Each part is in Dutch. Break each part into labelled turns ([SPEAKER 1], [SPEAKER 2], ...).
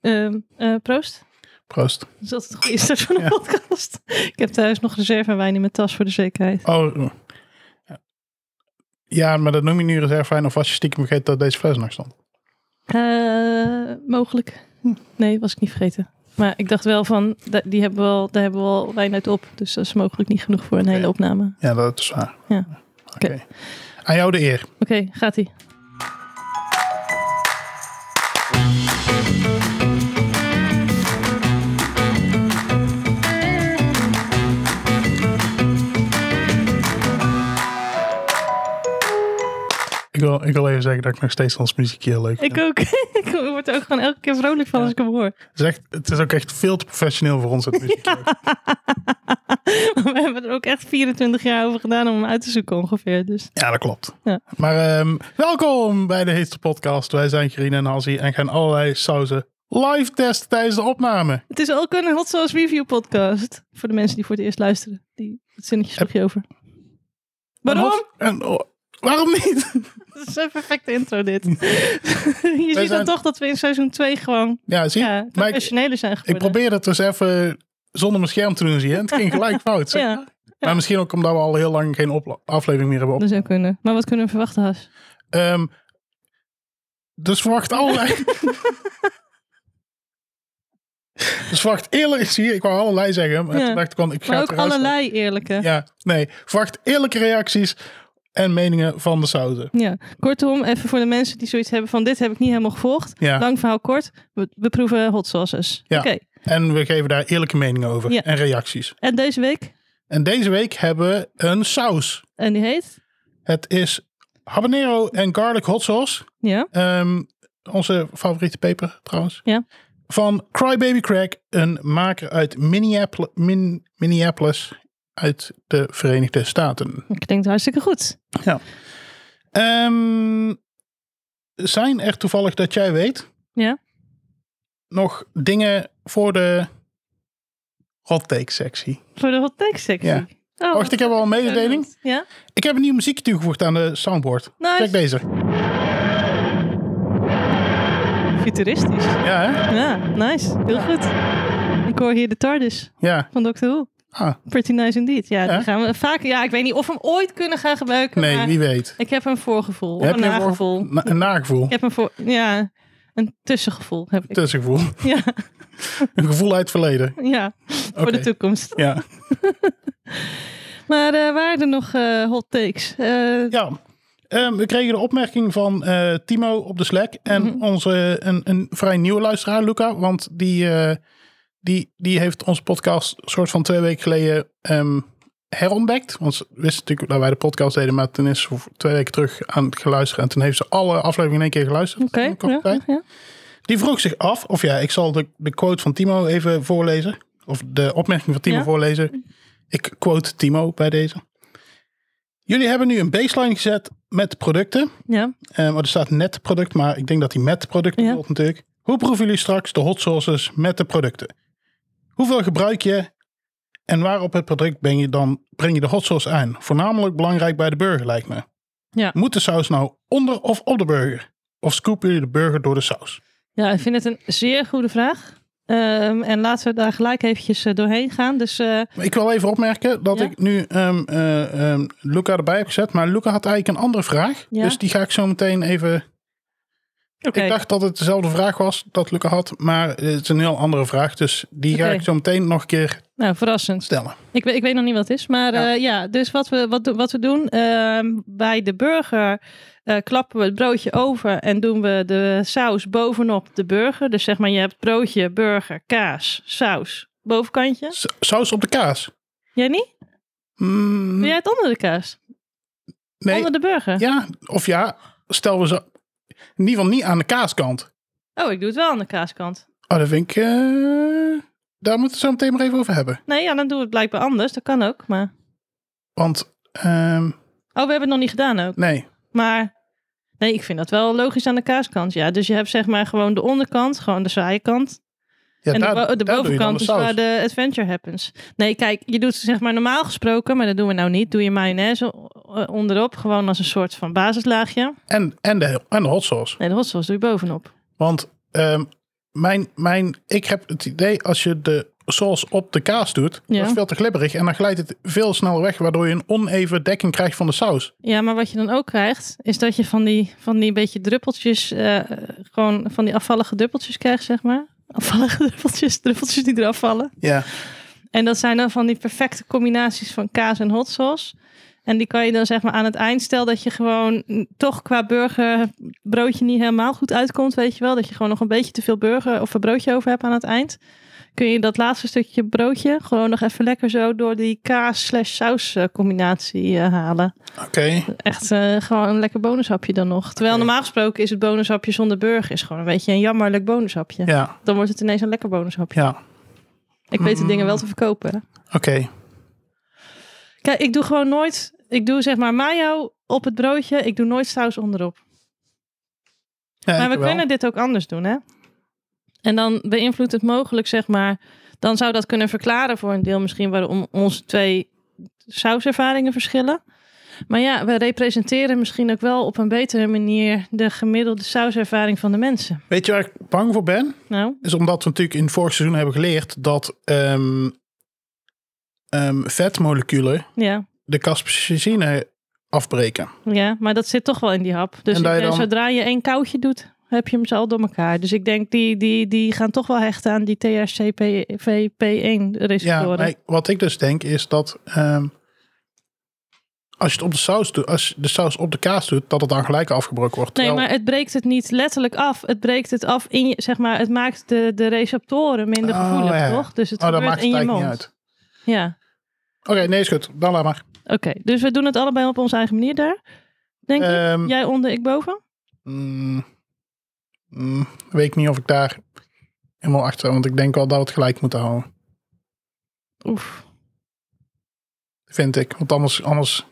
[SPEAKER 1] ehm, eh, proost.
[SPEAKER 2] Proost.
[SPEAKER 1] Dat is altijd een goede start van een
[SPEAKER 2] Ja.
[SPEAKER 1] podcast. Ik heb thuis nog reservewijn in mijn tas voor de zekerheid.
[SPEAKER 2] Oh. ja. Ja, maar dat noem je nu reservewijn of was je stiekem vergeten dat deze fles nog stond?
[SPEAKER 1] Eh, mogelijk. Hm, Nee, was ik niet vergeten. Maar ik dacht wel van, da- die hebben we al, daar hebben we al wijn uit op. Dus dat is mogelijk niet genoeg voor een hele
[SPEAKER 2] Ja.
[SPEAKER 1] opname.
[SPEAKER 2] Ja, dat is waar.
[SPEAKER 1] Ja.
[SPEAKER 2] Oké. Aan jou de eer.
[SPEAKER 1] Oké, gaat ie.
[SPEAKER 2] Ik wil, ik wil even zeggen dat ik nog steeds ons muziekje heel leuk vind.
[SPEAKER 1] Ik ook. ik word er ook gewoon elke keer vrolijk van als ik hem hoor.
[SPEAKER 2] Het, is echt, het is ook echt veel te professioneel voor ons, het muziekje.
[SPEAKER 1] Maar we hebben er ook echt 24 jaar over gedaan om hem uit te zoeken ongeveer. Dus
[SPEAKER 2] Ja, dat klopt.
[SPEAKER 1] Ja.
[SPEAKER 2] Maar ehm, welkom bij de Heetste Podcast. Wij zijn Gerine en Hansie en gaan allerlei sauzen live testen tijdens de opname.
[SPEAKER 1] het is ook een Hot Sauce Review podcast. Voor de mensen die voor het eerst luisteren. Die, het zinnetje sloeg je over. Waarom?
[SPEAKER 2] En, oh, waarom niet?
[SPEAKER 1] Dat is een perfecte intro dit. je ziet
[SPEAKER 2] zijn-
[SPEAKER 1] dan toch dat we in seizoen 2 gewoon
[SPEAKER 2] Ja, zie je?
[SPEAKER 1] ja,
[SPEAKER 2] maar ik,
[SPEAKER 1] professioneler zijn geworden.
[SPEAKER 2] ik probeer het dus even zonder mijn scherm te doen, zie je? En het ging gelijk fout. zeg.
[SPEAKER 1] Ja,
[SPEAKER 2] Maar misschien ook omdat we al heel lang geen opla- aflevering meer hebben op.
[SPEAKER 1] dat zou kunnen. Maar wat kunnen we verwachten, Has?
[SPEAKER 2] Ehm, dus verwacht allerlei. dus verwacht eerlijk, zie je, ik wou allerlei zeggen. Maar
[SPEAKER 1] Ja.
[SPEAKER 2] toen dacht ik, van, ik ga
[SPEAKER 1] Maar
[SPEAKER 2] het
[SPEAKER 1] ook
[SPEAKER 2] eruit
[SPEAKER 1] allerlei eerlijke. Ja.
[SPEAKER 2] Ja, nee. Verwacht eerlijke reacties en meningen van de sauzen.
[SPEAKER 1] Kortom, even voor de mensen die zoiets hebben van dit heb ik niet helemaal gevolgd.
[SPEAKER 2] Ja.
[SPEAKER 1] Lang verhaal kort. We, we proeven hot sauces.
[SPEAKER 2] Ja.
[SPEAKER 1] Oké.
[SPEAKER 2] En we geven daar eerlijke meningen over
[SPEAKER 1] Ja.
[SPEAKER 2] en reacties.
[SPEAKER 1] En deze week?
[SPEAKER 2] En deze week hebben we een saus.
[SPEAKER 1] En die heet?
[SPEAKER 2] Het is habanero en garlic hot sauce.
[SPEAKER 1] Ja.
[SPEAKER 2] Ehm, onze favoriete peper trouwens.
[SPEAKER 1] Ja.
[SPEAKER 2] Van Crybaby Crack, een maker uit Minneapolis, Min- Minneapolis uit de Verenigde Staten.
[SPEAKER 1] Klinkt hartstikke goed.
[SPEAKER 2] Ehm, zijn er toevallig dat jij weet?
[SPEAKER 1] Ja.
[SPEAKER 2] Nog dingen voor de hot take sectie.
[SPEAKER 1] Voor de hot take sectie.
[SPEAKER 2] Ja.
[SPEAKER 1] Oh,
[SPEAKER 2] Wacht, ik heb al een mededeling.
[SPEAKER 1] Ja?
[SPEAKER 2] Ik heb een nieuw muziekje toegevoegd aan de soundboard. Kijk
[SPEAKER 1] Nice.
[SPEAKER 2] deze.
[SPEAKER 1] Futuristisch.
[SPEAKER 2] Ja, hè?
[SPEAKER 1] Ja, nice. Heel goed. Ik hoor hier de TARDIS
[SPEAKER 2] Ja.
[SPEAKER 1] van Doctor Who.
[SPEAKER 2] Ah,
[SPEAKER 1] Pretty nice indeed. Ja,
[SPEAKER 2] Ja?
[SPEAKER 1] die gaan we vaak... Ja, ik weet niet of we hem ooit kunnen gaan gebruiken.
[SPEAKER 2] nee,
[SPEAKER 1] maar
[SPEAKER 2] wie weet.
[SPEAKER 1] Ik heb een voorgevoel. Of
[SPEAKER 2] Heb
[SPEAKER 1] een
[SPEAKER 2] je een voor-
[SPEAKER 1] nagevoel.
[SPEAKER 2] Na- een nagevoel.
[SPEAKER 1] Ik heb een voor... Ja, een tussengevoel heb ik.
[SPEAKER 2] Tussengevoel.
[SPEAKER 1] Ja,
[SPEAKER 2] Een gevoel uit het verleden.
[SPEAKER 1] ja. voor de
[SPEAKER 2] Oké.
[SPEAKER 1] toekomst.
[SPEAKER 2] Ja.
[SPEAKER 1] Maar eh waren er nog eh, hot takes? Eh,
[SPEAKER 2] ja. Ehm, we kregen de opmerking van eh, Timo op de Slack. En
[SPEAKER 1] Mhm.
[SPEAKER 2] onze, een, een vrij nieuwe luisteraar, Luca. Want die, eh, die, die heeft onze podcast soort van twee weken geleden ehm, herontdekt. Want ze wist natuurlijk dat wij de podcast deden. Maar toen is ze voor twee weken terug aan het geluisteren. En toen heeft ze alle afleveringen in één keer geluisterd.
[SPEAKER 1] Oké,
[SPEAKER 2] in een korte
[SPEAKER 1] ja,
[SPEAKER 2] tijd.
[SPEAKER 1] ja.
[SPEAKER 2] Die vroeg zich af, of ja, ik zal de, de quote van Timo even voorlezen. Of de opmerking van Timo
[SPEAKER 1] Ja.
[SPEAKER 2] voorlezen. Ik quote Timo bij deze. Jullie hebben nu een baseline gezet met producten.
[SPEAKER 1] ja.
[SPEAKER 2] Eh, maar er staat net product, maar ik denk dat hij met producten
[SPEAKER 1] Ja.
[SPEAKER 2] bedoelt natuurlijk. Hoe proeven jullie straks de hot sauces met de producten? Hoeveel gebruik je en waar op het product ben je dan, breng je de hot sauce aan? Voornamelijk belangrijk bij de burger lijkt me.
[SPEAKER 1] Ja.
[SPEAKER 2] Moet de saus nou onder of op de burger? Of scoopen jullie de burger door de saus?
[SPEAKER 1] Ja, ik vind het een zeer goede vraag. Ehm, en laten we daar gelijk eventjes eh, doorheen gaan. Dus eh,
[SPEAKER 2] Maar Ik wil even opmerken dat
[SPEAKER 1] Ja?
[SPEAKER 2] ik nu ehm, eh, ehm, Luca erbij heb gezet. Maar Luca had eigenlijk een andere vraag.
[SPEAKER 1] Ja.
[SPEAKER 2] Dus die ga ik zo meteen even...
[SPEAKER 1] oké.
[SPEAKER 2] Ik dacht dat het dezelfde vraag was dat Luca had. Maar het is een heel andere vraag. Dus die ga
[SPEAKER 1] Oké.
[SPEAKER 2] ik zo meteen nog een keer
[SPEAKER 1] nou verrassend.
[SPEAKER 2] stellen.
[SPEAKER 1] Ik, weet- ik weet nog niet wat het is, maar
[SPEAKER 2] Ja.
[SPEAKER 1] ja, ja dus wat we, wat, do- wat we doen ehm, bij de burger eh, klappen we het broodje over en doen we de saus bovenop de burger. Dus zeg maar, je hebt broodje, burger, kaas, saus, bovenkantje.
[SPEAKER 2] S- saus op de kaas.
[SPEAKER 1] Jij niet?
[SPEAKER 2] Mm,
[SPEAKER 1] Doe jij het onder de kaas?
[SPEAKER 2] nee.
[SPEAKER 1] Onder de burger?
[SPEAKER 2] Ja, of ja. Stel we ze in ieder geval niet aan de kaaskant.
[SPEAKER 1] Oh, ik doe het wel aan de kaaskant.
[SPEAKER 2] Oh, dat vind ik... eh, daar moeten we het zo meteen maar even over hebben.
[SPEAKER 1] Nee, ja, dan doen we het blijkbaar anders. Dat kan ook, maar...
[SPEAKER 2] Want, ehm,
[SPEAKER 1] Oh, we hebben het nog niet gedaan ook.
[SPEAKER 2] nee.
[SPEAKER 1] Maar nee, ik vind dat wel logisch aan de kaaskant. Ja, dus je hebt zeg maar gewoon de onderkant, gewoon de saaie kant.
[SPEAKER 2] Ja,
[SPEAKER 1] en de,
[SPEAKER 2] daar-
[SPEAKER 1] bo- de
[SPEAKER 2] daar doe je dan
[SPEAKER 1] bovenkant
[SPEAKER 2] de
[SPEAKER 1] is
[SPEAKER 2] saus.
[SPEAKER 1] waar de adventure happens. Nee, kijk, je doet zeg maar normaal gesproken, maar dat doen we nou niet. Doe je mayonaise eh, onderop, gewoon als een soort van basislaagje.
[SPEAKER 2] En, en, de, en de hot sauce.
[SPEAKER 1] Nee, de hot sauce doe je bovenop.
[SPEAKER 2] Want ehm, mijn, mijn, ik heb het idee als je de saus op de kaas doet,
[SPEAKER 1] Ja.
[SPEAKER 2] dat is veel te glibberig. En dan glijdt het veel sneller weg, waardoor je een oneven dekking krijgt van de saus.
[SPEAKER 1] Ja, maar wat je dan ook krijgt, is dat je van die, van die beetje druppeltjes, eh, gewoon van die afvallige druppeltjes krijgt, zeg maar. Afvallige druppeltjes, druppeltjes die eraf vallen.
[SPEAKER 2] Ja.
[SPEAKER 1] En dat zijn dan van die perfecte combinaties van kaas en hot sauce. En die kan je dan zeg maar aan het eind, stel dat je gewoon mm, toch qua burgerbroodje niet helemaal goed uitkomt, weet je wel. Dat je gewoon nog een beetje te veel burger of een broodje over hebt aan het eind. Kun je dat laatste stukje broodje gewoon nog even lekker zo door die kaas slash saus eh, combinatie eh, halen.
[SPEAKER 2] Oké.
[SPEAKER 1] Echt eh, gewoon een lekker bonushapje dan nog. Terwijl
[SPEAKER 2] Oké.
[SPEAKER 1] normaal gesproken is het bonushapje zonder burger is gewoon een beetje een jammerlijk bonushapje.
[SPEAKER 2] Ja,
[SPEAKER 1] Dan wordt het ineens een lekker bonushapje.
[SPEAKER 2] ja.
[SPEAKER 1] Ik weet de
[SPEAKER 2] Mm.
[SPEAKER 1] dingen wel te verkopen.
[SPEAKER 2] Oké.
[SPEAKER 1] Kijk, ik doe gewoon nooit. Ik doe zeg maar mayo op het broodje. Ik doe nooit saus onderop.
[SPEAKER 2] Ja,
[SPEAKER 1] maar
[SPEAKER 2] ik
[SPEAKER 1] we
[SPEAKER 2] wel.
[SPEAKER 1] kunnen dit ook anders doen, hè? En dan beïnvloedt het mogelijk, zeg maar. Dan zou dat kunnen verklaren voor een deel misschien waarom onze twee sauservaringen verschillen. Maar ja, we representeren misschien ook wel op een betere manier de gemiddelde sauservaring van de mensen.
[SPEAKER 2] Weet je waar ik bang voor ben?
[SPEAKER 1] Nou,
[SPEAKER 2] is omdat we natuurlijk in het vorig seizoen hebben geleerd dat ehm, ehm, vetmoleculen
[SPEAKER 1] ja.
[SPEAKER 2] de caspsicine afbreken.
[SPEAKER 1] Ja, maar dat zit toch wel in die hap. Dus
[SPEAKER 2] En
[SPEAKER 1] ik
[SPEAKER 2] dat je
[SPEAKER 1] denk,
[SPEAKER 2] dan-
[SPEAKER 1] zodra je één koutje doet, heb je hem ze al door elkaar. Dus ik denk, die, die, die gaan toch wel hechten aan die
[SPEAKER 2] Ja,
[SPEAKER 1] THCP-VP1-receptoren.
[SPEAKER 2] maar wat ik dus denk is dat ehm, als je het op de saus doet, als je de saus op de kaas doet, dat het dan gelijk afgebroken wordt.
[SPEAKER 1] nee,
[SPEAKER 2] Terwijl-
[SPEAKER 1] maar het breekt het niet letterlijk af. Het breekt het af in je, zeg maar, het maakt de, de receptoren minder
[SPEAKER 2] Oh,
[SPEAKER 1] gevoelig,
[SPEAKER 2] ja.
[SPEAKER 1] toch? Dus het
[SPEAKER 2] oh, dat
[SPEAKER 1] gebeurt
[SPEAKER 2] maakt
[SPEAKER 1] in
[SPEAKER 2] het
[SPEAKER 1] je
[SPEAKER 2] eigenlijk
[SPEAKER 1] mond.
[SPEAKER 2] niet uit.
[SPEAKER 1] Ja,
[SPEAKER 2] Oké, nee, is goed. Dan laat maar.
[SPEAKER 1] oké. Dus we doen het allebei op onze eigen manier daar, denk ik.
[SPEAKER 2] Ehm,
[SPEAKER 1] Jij onder, ik boven?
[SPEAKER 2] mm, mm, weet ik niet of ik daar helemaal achter sta, want ik denk wel dat we het gelijk moeten houden.
[SPEAKER 1] Oef.
[SPEAKER 2] Vind ik. Want anders, anders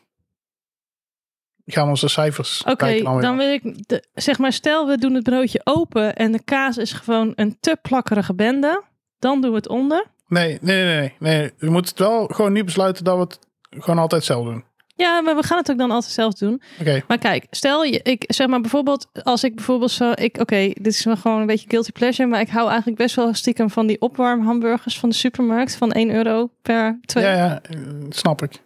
[SPEAKER 2] gaan onze cijfers
[SPEAKER 1] Oké,
[SPEAKER 2] kijken nou weer
[SPEAKER 1] dan
[SPEAKER 2] af.
[SPEAKER 1] wil ik, de- zeg maar, stel we doen het broodje open en de kaas is gewoon een te plakkerige bende. Dan doen we het onder.
[SPEAKER 2] Nee, nee, nee, nee, nee. We moeten het wel gewoon niet besluiten dat we het gewoon altijd zelf doen.
[SPEAKER 1] Ja, maar we gaan het ook dan altijd zelf doen.
[SPEAKER 2] Oké,
[SPEAKER 1] Maar kijk, stel je, ik zeg maar bijvoorbeeld, als ik bijvoorbeeld zo, ik, oké, dit is wel gewoon een beetje guilty pleasure, maar ik hou eigenlijk best wel stiekem van die opwarmhamburgers van de supermarkt van 1 euro per 2
[SPEAKER 2] ja, ja, eh, snap ik.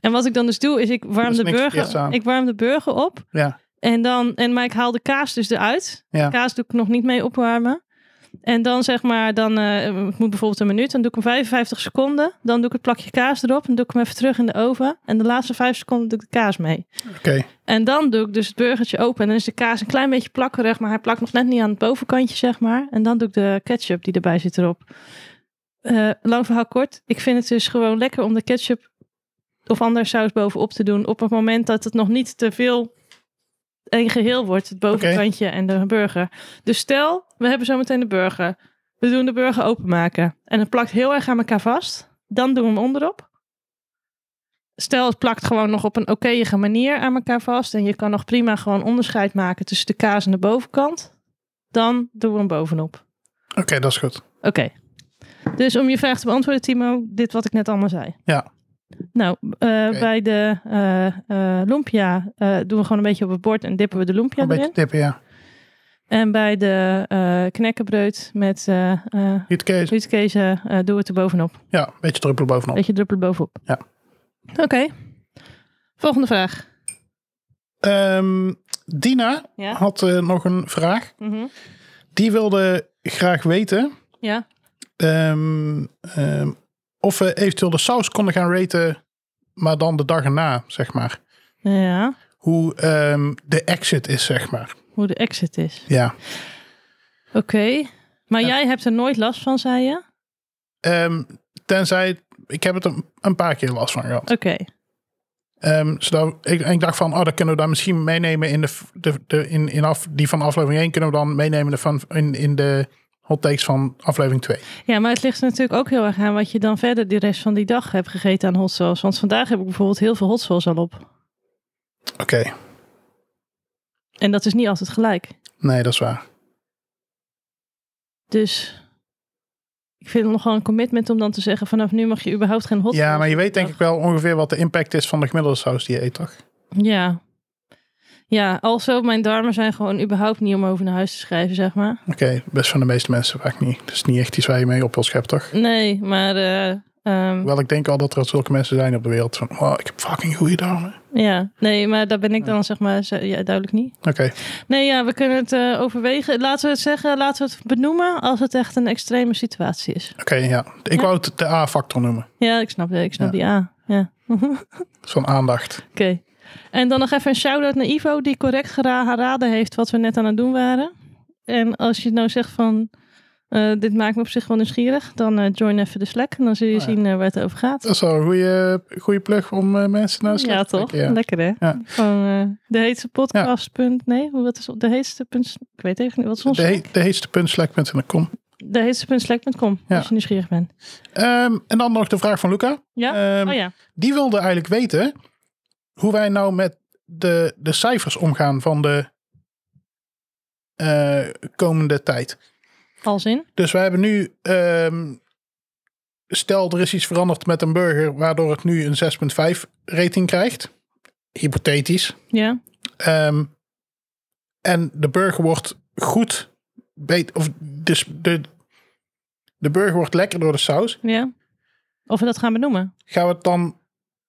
[SPEAKER 1] En wat ik dan dus doe, is ik
[SPEAKER 2] Er
[SPEAKER 1] warm,
[SPEAKER 2] is
[SPEAKER 1] de
[SPEAKER 2] niks verkeerds
[SPEAKER 1] burger,
[SPEAKER 2] aan.
[SPEAKER 1] ik warm de burger op.
[SPEAKER 2] Ja.
[SPEAKER 1] En dan, en, maar ik haal de kaas dus eruit.
[SPEAKER 2] Ja.
[SPEAKER 1] Kaas doe ik nog niet mee opwarmen. En dan zeg maar, dan, eh het moet bijvoorbeeld een minuut. Dan doe ik hem 55 seconden. Dan doe ik het plakje kaas erop. En doe ik hem even terug in de oven. En de laatste 5 seconden doe ik de kaas mee.
[SPEAKER 2] Oké,
[SPEAKER 1] En dan doe ik dus het burgertje open. En dan is de kaas een klein beetje plakkerig. Maar hij plakt nog net niet aan het bovenkantje, zeg maar. En dan doe ik de ketchup die erbij zit erop. Eh, lang verhaal kort. Ik vind het dus gewoon lekker om de ketchup of andere saus bovenop te doen. Op het moment dat het nog niet te veel een geheel wordt. Het bovenkantje en de burger. Dus stel, we hebben zometeen de burger. We doen de burger openmaken. En het plakt heel erg aan elkaar vast. Dan doen we hem onderop stel het plakt gewoon nog op een okéige manier aan elkaar vast en je kan nog prima gewoon onderscheid maken tussen de kaas en de bovenkant, dan doen we hem bovenop.
[SPEAKER 2] oké, dat is goed.
[SPEAKER 1] Oké. Dus om je vraag te beantwoorden, Timo, dit wat ik net allemaal zei.
[SPEAKER 2] Ja.
[SPEAKER 1] Nou, eh,
[SPEAKER 2] Oké.
[SPEAKER 1] bij de eh eh, lumpia eh, doen we gewoon een beetje op het bord en dippen we de lumpia
[SPEAKER 2] een beetje
[SPEAKER 1] erin.
[SPEAKER 2] tippen, ja.
[SPEAKER 1] En bij de eh knekkenbreud met eh eh
[SPEAKER 2] Rietkees.
[SPEAKER 1] uitkezen eh, doen we het er bovenop.
[SPEAKER 2] Ja, een beetje druppel bovenop.
[SPEAKER 1] Beetje druppelen bovenop.
[SPEAKER 2] Ja.
[SPEAKER 1] Oké. Volgende vraag.
[SPEAKER 2] Ehm, Dina
[SPEAKER 1] Ja.
[SPEAKER 2] had eh, nog een vraag. Die wilde graag weten
[SPEAKER 1] Mhm. Ja.
[SPEAKER 2] ehm, ehm, of we eventueel de saus konden gaan raten, maar dan de dag erna, zeg maar.
[SPEAKER 1] Nou Ja,
[SPEAKER 2] Hoe ehm, de exit is, zeg maar.
[SPEAKER 1] hoe de exit is.
[SPEAKER 2] Ja.
[SPEAKER 1] Oké. Maar
[SPEAKER 2] Ja.
[SPEAKER 1] jij hebt er nooit last van, zei je?
[SPEAKER 2] Ehm, tenzij, ik heb het een, een paar keer last van gehad.
[SPEAKER 1] Oké.
[SPEAKER 2] Ehm, zodat ik, en ik dacht van, oh, dat kunnen we dan misschien meenemen in de, f- de, de in, in af, die van aflevering 1 kunnen we dan meenemen de van, in, in de hot takes van aflevering 2.
[SPEAKER 1] Ja, maar het ligt er natuurlijk ook heel erg aan wat je dan verder de rest van die dag hebt gegeten aan hot sauce. Want vandaag heb ik bijvoorbeeld heel veel hot sauce al op.
[SPEAKER 2] Oké,
[SPEAKER 1] En dat is niet altijd gelijk.
[SPEAKER 2] nee, dat is waar.
[SPEAKER 1] Dus ik vind het nogal een commitment om dan te zeggen: vanaf nu mag je überhaupt geen hot
[SPEAKER 2] Ja,
[SPEAKER 1] sauce.
[SPEAKER 2] maar je weet denk ik wel ongeveer wat de impact is van de gemiddelde saus die je eet, toch?
[SPEAKER 1] Ja. Ja, also mijn darmen zijn gewoon überhaupt niet om over naar huis te schrijven, zeg maar.
[SPEAKER 2] Oké, best van de meeste mensen vaak niet. Dat is niet echt iets waar je mee op wil scheppen, toch?
[SPEAKER 1] Nee, maar eh, ehm,
[SPEAKER 2] Wel, ik denk al dat er zulke mensen zijn op de wereld van, oh, ik heb fucking goede darmen.
[SPEAKER 1] ja, nee, maar daar ben ik dan zeg maar ze- ja, duidelijk niet.
[SPEAKER 2] Oké,
[SPEAKER 1] Nee, ja, we kunnen het eh, overwegen. Laten we het zeggen, laten we het benoemen als het echt een extreme situatie is.
[SPEAKER 2] oké, ja. Ik wou het de A-factor noemen.
[SPEAKER 1] Ja, ik snap, ik snap
[SPEAKER 2] Ja.
[SPEAKER 1] die A. Ja, oké.
[SPEAKER 2] Van aandacht.
[SPEAKER 1] En dan nog even een shout-out naar Ivo, die correct geraden heeft wat we net aan het doen waren. En als je nou zegt van, eh, dit maakt me op zich wel nieuwsgierig, dan eh, join even de Slack en dan zul je
[SPEAKER 2] Oh ja.
[SPEAKER 1] zien eh, waar het over gaat.
[SPEAKER 2] Dat is wel een goede, goede plug om eh, mensen naar de slag
[SPEAKER 1] Ja,
[SPEAKER 2] te
[SPEAKER 1] toch?
[SPEAKER 2] trekken, ja.
[SPEAKER 1] Lekker hè?
[SPEAKER 2] Ja.
[SPEAKER 1] Van eh, de heetste podcast. Punt, nee, hoe- wat is op- de heetste punt? Ik weet even niet, wat is ons?
[SPEAKER 2] De, he- de heetste punt slack.com.
[SPEAKER 1] De heetste punt Slack.com,
[SPEAKER 2] Ja.
[SPEAKER 1] als je nieuwsgierig bent.
[SPEAKER 2] Ehm, en dan nog de vraag van Luca.
[SPEAKER 1] Ja?
[SPEAKER 2] Ehm,
[SPEAKER 1] oh ja.
[SPEAKER 2] Die wilde eigenlijk weten hoe wij nou met de, de cijfers omgaan van de eh, komende tijd.
[SPEAKER 1] Als in?
[SPEAKER 2] Dus we hebben nu, ehm, stel er is iets veranderd met een burger, waardoor het nu een 6,5 rating krijgt. Hypothetisch.
[SPEAKER 1] Ja.
[SPEAKER 2] Ehm, en de burger wordt goed, bet- of dus de, de burger wordt lekker door de saus.
[SPEAKER 1] Ja. Of we dat gaan benoemen.
[SPEAKER 2] gaan we het dan,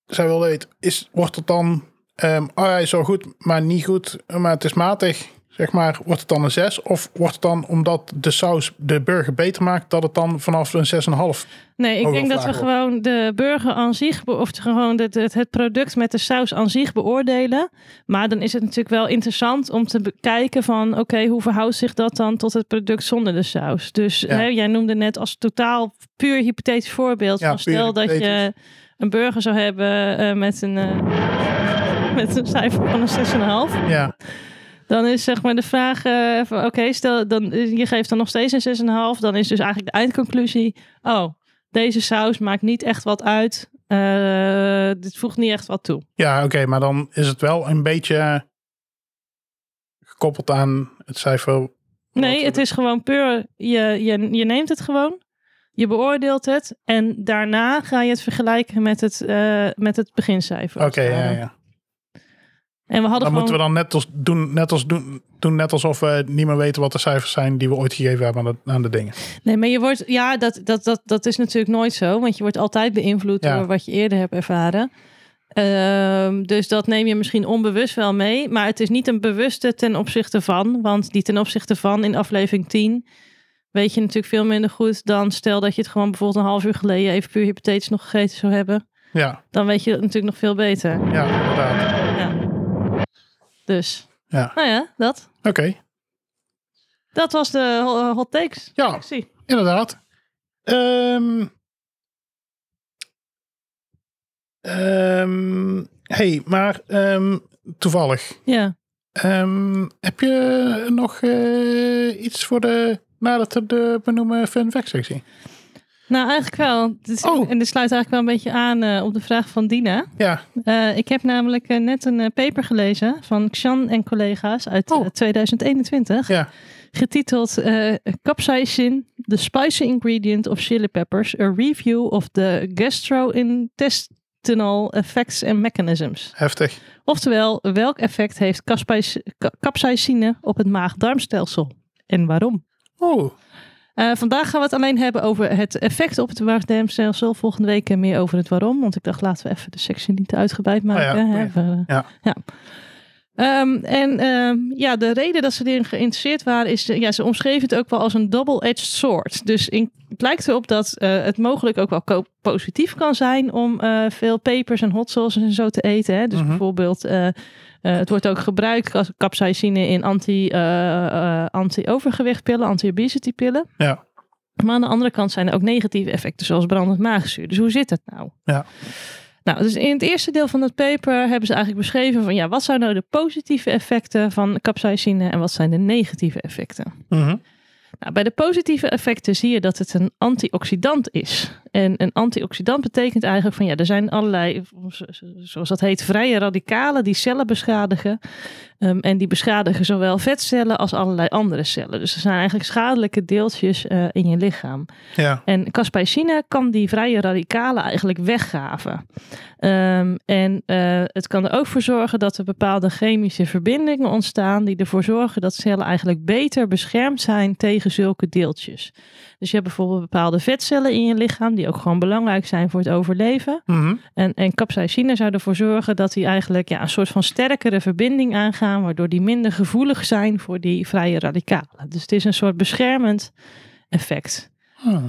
[SPEAKER 2] zij wil weten, is, wordt het dan, ehm oh hij is wel goed, maar niet goed, maar het is matig, zeg maar, wordt het dan een 6? Of wordt het dan, omdat de saus de burger beter maakt, dat het dan vanaf een 6,5?
[SPEAKER 1] Nee, ik
[SPEAKER 2] Oh,
[SPEAKER 1] denk
[SPEAKER 2] wel
[SPEAKER 1] dat we
[SPEAKER 2] vragen.
[SPEAKER 1] gewoon de burger aan zich, be- of gewoon het, het, het product met de saus aan zich beoordelen. Maar dan is het natuurlijk wel interessant om te bekijken van, oké, hoe verhoudt zich dat dan tot het product zonder de saus? Dus hè, jij noemde net als totaal puur hypothetisch voorbeeld,
[SPEAKER 2] Ja,
[SPEAKER 1] van
[SPEAKER 2] puur
[SPEAKER 1] stel dat je
[SPEAKER 2] hypothetisch.
[SPEAKER 1] een burger zou hebben eh, met, een, eh, met een cijfer van een 6,5.
[SPEAKER 2] Ja,
[SPEAKER 1] Dan is zeg maar de vraag eh, van oké, stel dan, eh, je geeft dan nog steeds een 6,5. Dan is dus eigenlijk de eindconclusie. Oh, deze saus maakt niet echt wat uit. Eh, dit voegt niet echt wat toe.
[SPEAKER 2] ja oké, maar dan is het wel een beetje gekoppeld aan het cijfer.
[SPEAKER 1] Nee, het is gewoon puur. Je, je, je neemt het gewoon. Je beoordeelt het. En daarna ga je het vergelijken met het, eh, met het begincijfer.
[SPEAKER 2] Oké,
[SPEAKER 1] als het
[SPEAKER 2] ja,
[SPEAKER 1] ware.
[SPEAKER 2] ja.
[SPEAKER 1] En we hadden
[SPEAKER 2] Dan
[SPEAKER 1] gewoon...
[SPEAKER 2] moeten we dan net als, doen, net als doen, doen, net alsof we niet meer weten wat de cijfers zijn die we ooit gegeven hebben aan de, aan de dingen.
[SPEAKER 1] Nee, maar je wordt, ja, dat, dat, dat, dat is natuurlijk nooit zo, want je wordt altijd beïnvloed
[SPEAKER 2] Ja.
[SPEAKER 1] door wat je eerder hebt ervaren. Ehm, dus dat neem je misschien onbewust wel mee, maar het is niet een bewuste ten opzichte van, want die ten opzichte van in aflevering 10 weet je natuurlijk veel minder goed dan stel dat je het gewoon bijvoorbeeld een half uur geleden even puur hypothetisch nog gegeten zou hebben.
[SPEAKER 2] Ja,
[SPEAKER 1] Dan weet je het natuurlijk nog veel beter.
[SPEAKER 2] ja, inderdaad.
[SPEAKER 1] Ja. Dus,
[SPEAKER 2] Ja,
[SPEAKER 1] nou ja, dat.
[SPEAKER 2] oké.
[SPEAKER 1] Dat was de ho- hot takes.
[SPEAKER 2] Ja,
[SPEAKER 1] Zie.
[SPEAKER 2] Inderdaad. Ehm Ehm, hey, maar ehm, toevallig.
[SPEAKER 1] Ja.
[SPEAKER 2] Ehm, heb je nog eh, iets voor de nadat we de benoemen fun fact sectie?
[SPEAKER 1] Nou, eigenlijk wel. Dit is-
[SPEAKER 2] Oh.
[SPEAKER 1] En dit sluit eigenlijk wel een beetje aan eh, op de vraag van Dina.
[SPEAKER 2] Ja,
[SPEAKER 1] Eh, ik heb namelijk eh, net een eh, paper gelezen van Xan en collega's uit
[SPEAKER 2] Oh.
[SPEAKER 1] eh, 2021.
[SPEAKER 2] Ja.
[SPEAKER 1] Getiteld eh Capsaicin, the spicy ingredient of chili peppers. A review of the gastrointestinal effects and mechanisms.
[SPEAKER 2] heftig.
[SPEAKER 1] Oftewel, welk effect heeft caspais- ca- capsaicine op het maag-darmstelsel? En waarom?
[SPEAKER 2] Oh,
[SPEAKER 1] Eh, vandaag gaan we het alleen hebben over het effect op het maagdarmstelsel. Volgende week eh, meer over het waarom. Want ik dacht, laten we even de sectie niet te uitgebreid maken.
[SPEAKER 2] Oh ja,
[SPEAKER 1] hè,
[SPEAKER 2] ja.
[SPEAKER 1] we-
[SPEAKER 2] Ja.
[SPEAKER 1] Ehm, en ehm, ja, de reden dat ze erin geïnteresseerd waren is, eh, ja, ze omschreven het ook wel als een double-edged sword. Dus in, het lijkt erop dat eh, het mogelijk ook wel ko- positief kan zijn om eh, veel pepers en hot sauces en zo te eten. Hè? Dus
[SPEAKER 2] Mhm.
[SPEAKER 1] bijvoorbeeld, eh, eh, het wordt ook gebruikt, cas- capsaicine, in anti, eh, eh, anti-overgewichtpillen, anti-obesity-pillen.
[SPEAKER 2] Ja.
[SPEAKER 1] Maar aan de andere kant zijn er ook negatieve effecten, zoals brandend maagzuur. Dus hoe zit dat nou?
[SPEAKER 2] Ja.
[SPEAKER 1] Nou, dus in het eerste deel van het paper hebben ze eigenlijk beschreven van ja, wat zijn nou de positieve effecten van capsaicine en wat zijn de negatieve effecten?
[SPEAKER 2] Mhm.
[SPEAKER 1] Nou, bij de positieve effecten zie je dat het een antioxidant is. En een antioxidant betekent eigenlijk van ja, er zijn allerlei, zoals dat heet, vrije radicalen die cellen beschadigen. Um, en die beschadigen zowel vetcellen als allerlei andere cellen. Dus er zijn eigenlijk schadelijke deeltjes uh, in je lichaam.
[SPEAKER 2] Ja.
[SPEAKER 1] En caspicine kan die vrije radicalen eigenlijk weggaven. Um, en uh, het kan er ook voor zorgen dat er bepaalde chemische verbindingen ontstaan die ervoor zorgen dat cellen eigenlijk beter beschermd zijn tegen zulke deeltjes. Dus je hebt bijvoorbeeld bepaalde vetcellen in je lichaam die ook gewoon belangrijk zijn voor het overleven.
[SPEAKER 2] Mhm.
[SPEAKER 1] En, en capsaïcine zou ervoor zorgen dat die eigenlijk ja, een soort van sterkere verbinding aangaan, waardoor die minder gevoelig zijn voor die vrije radicalen. Dus het is een soort beschermend effect.
[SPEAKER 2] Ah,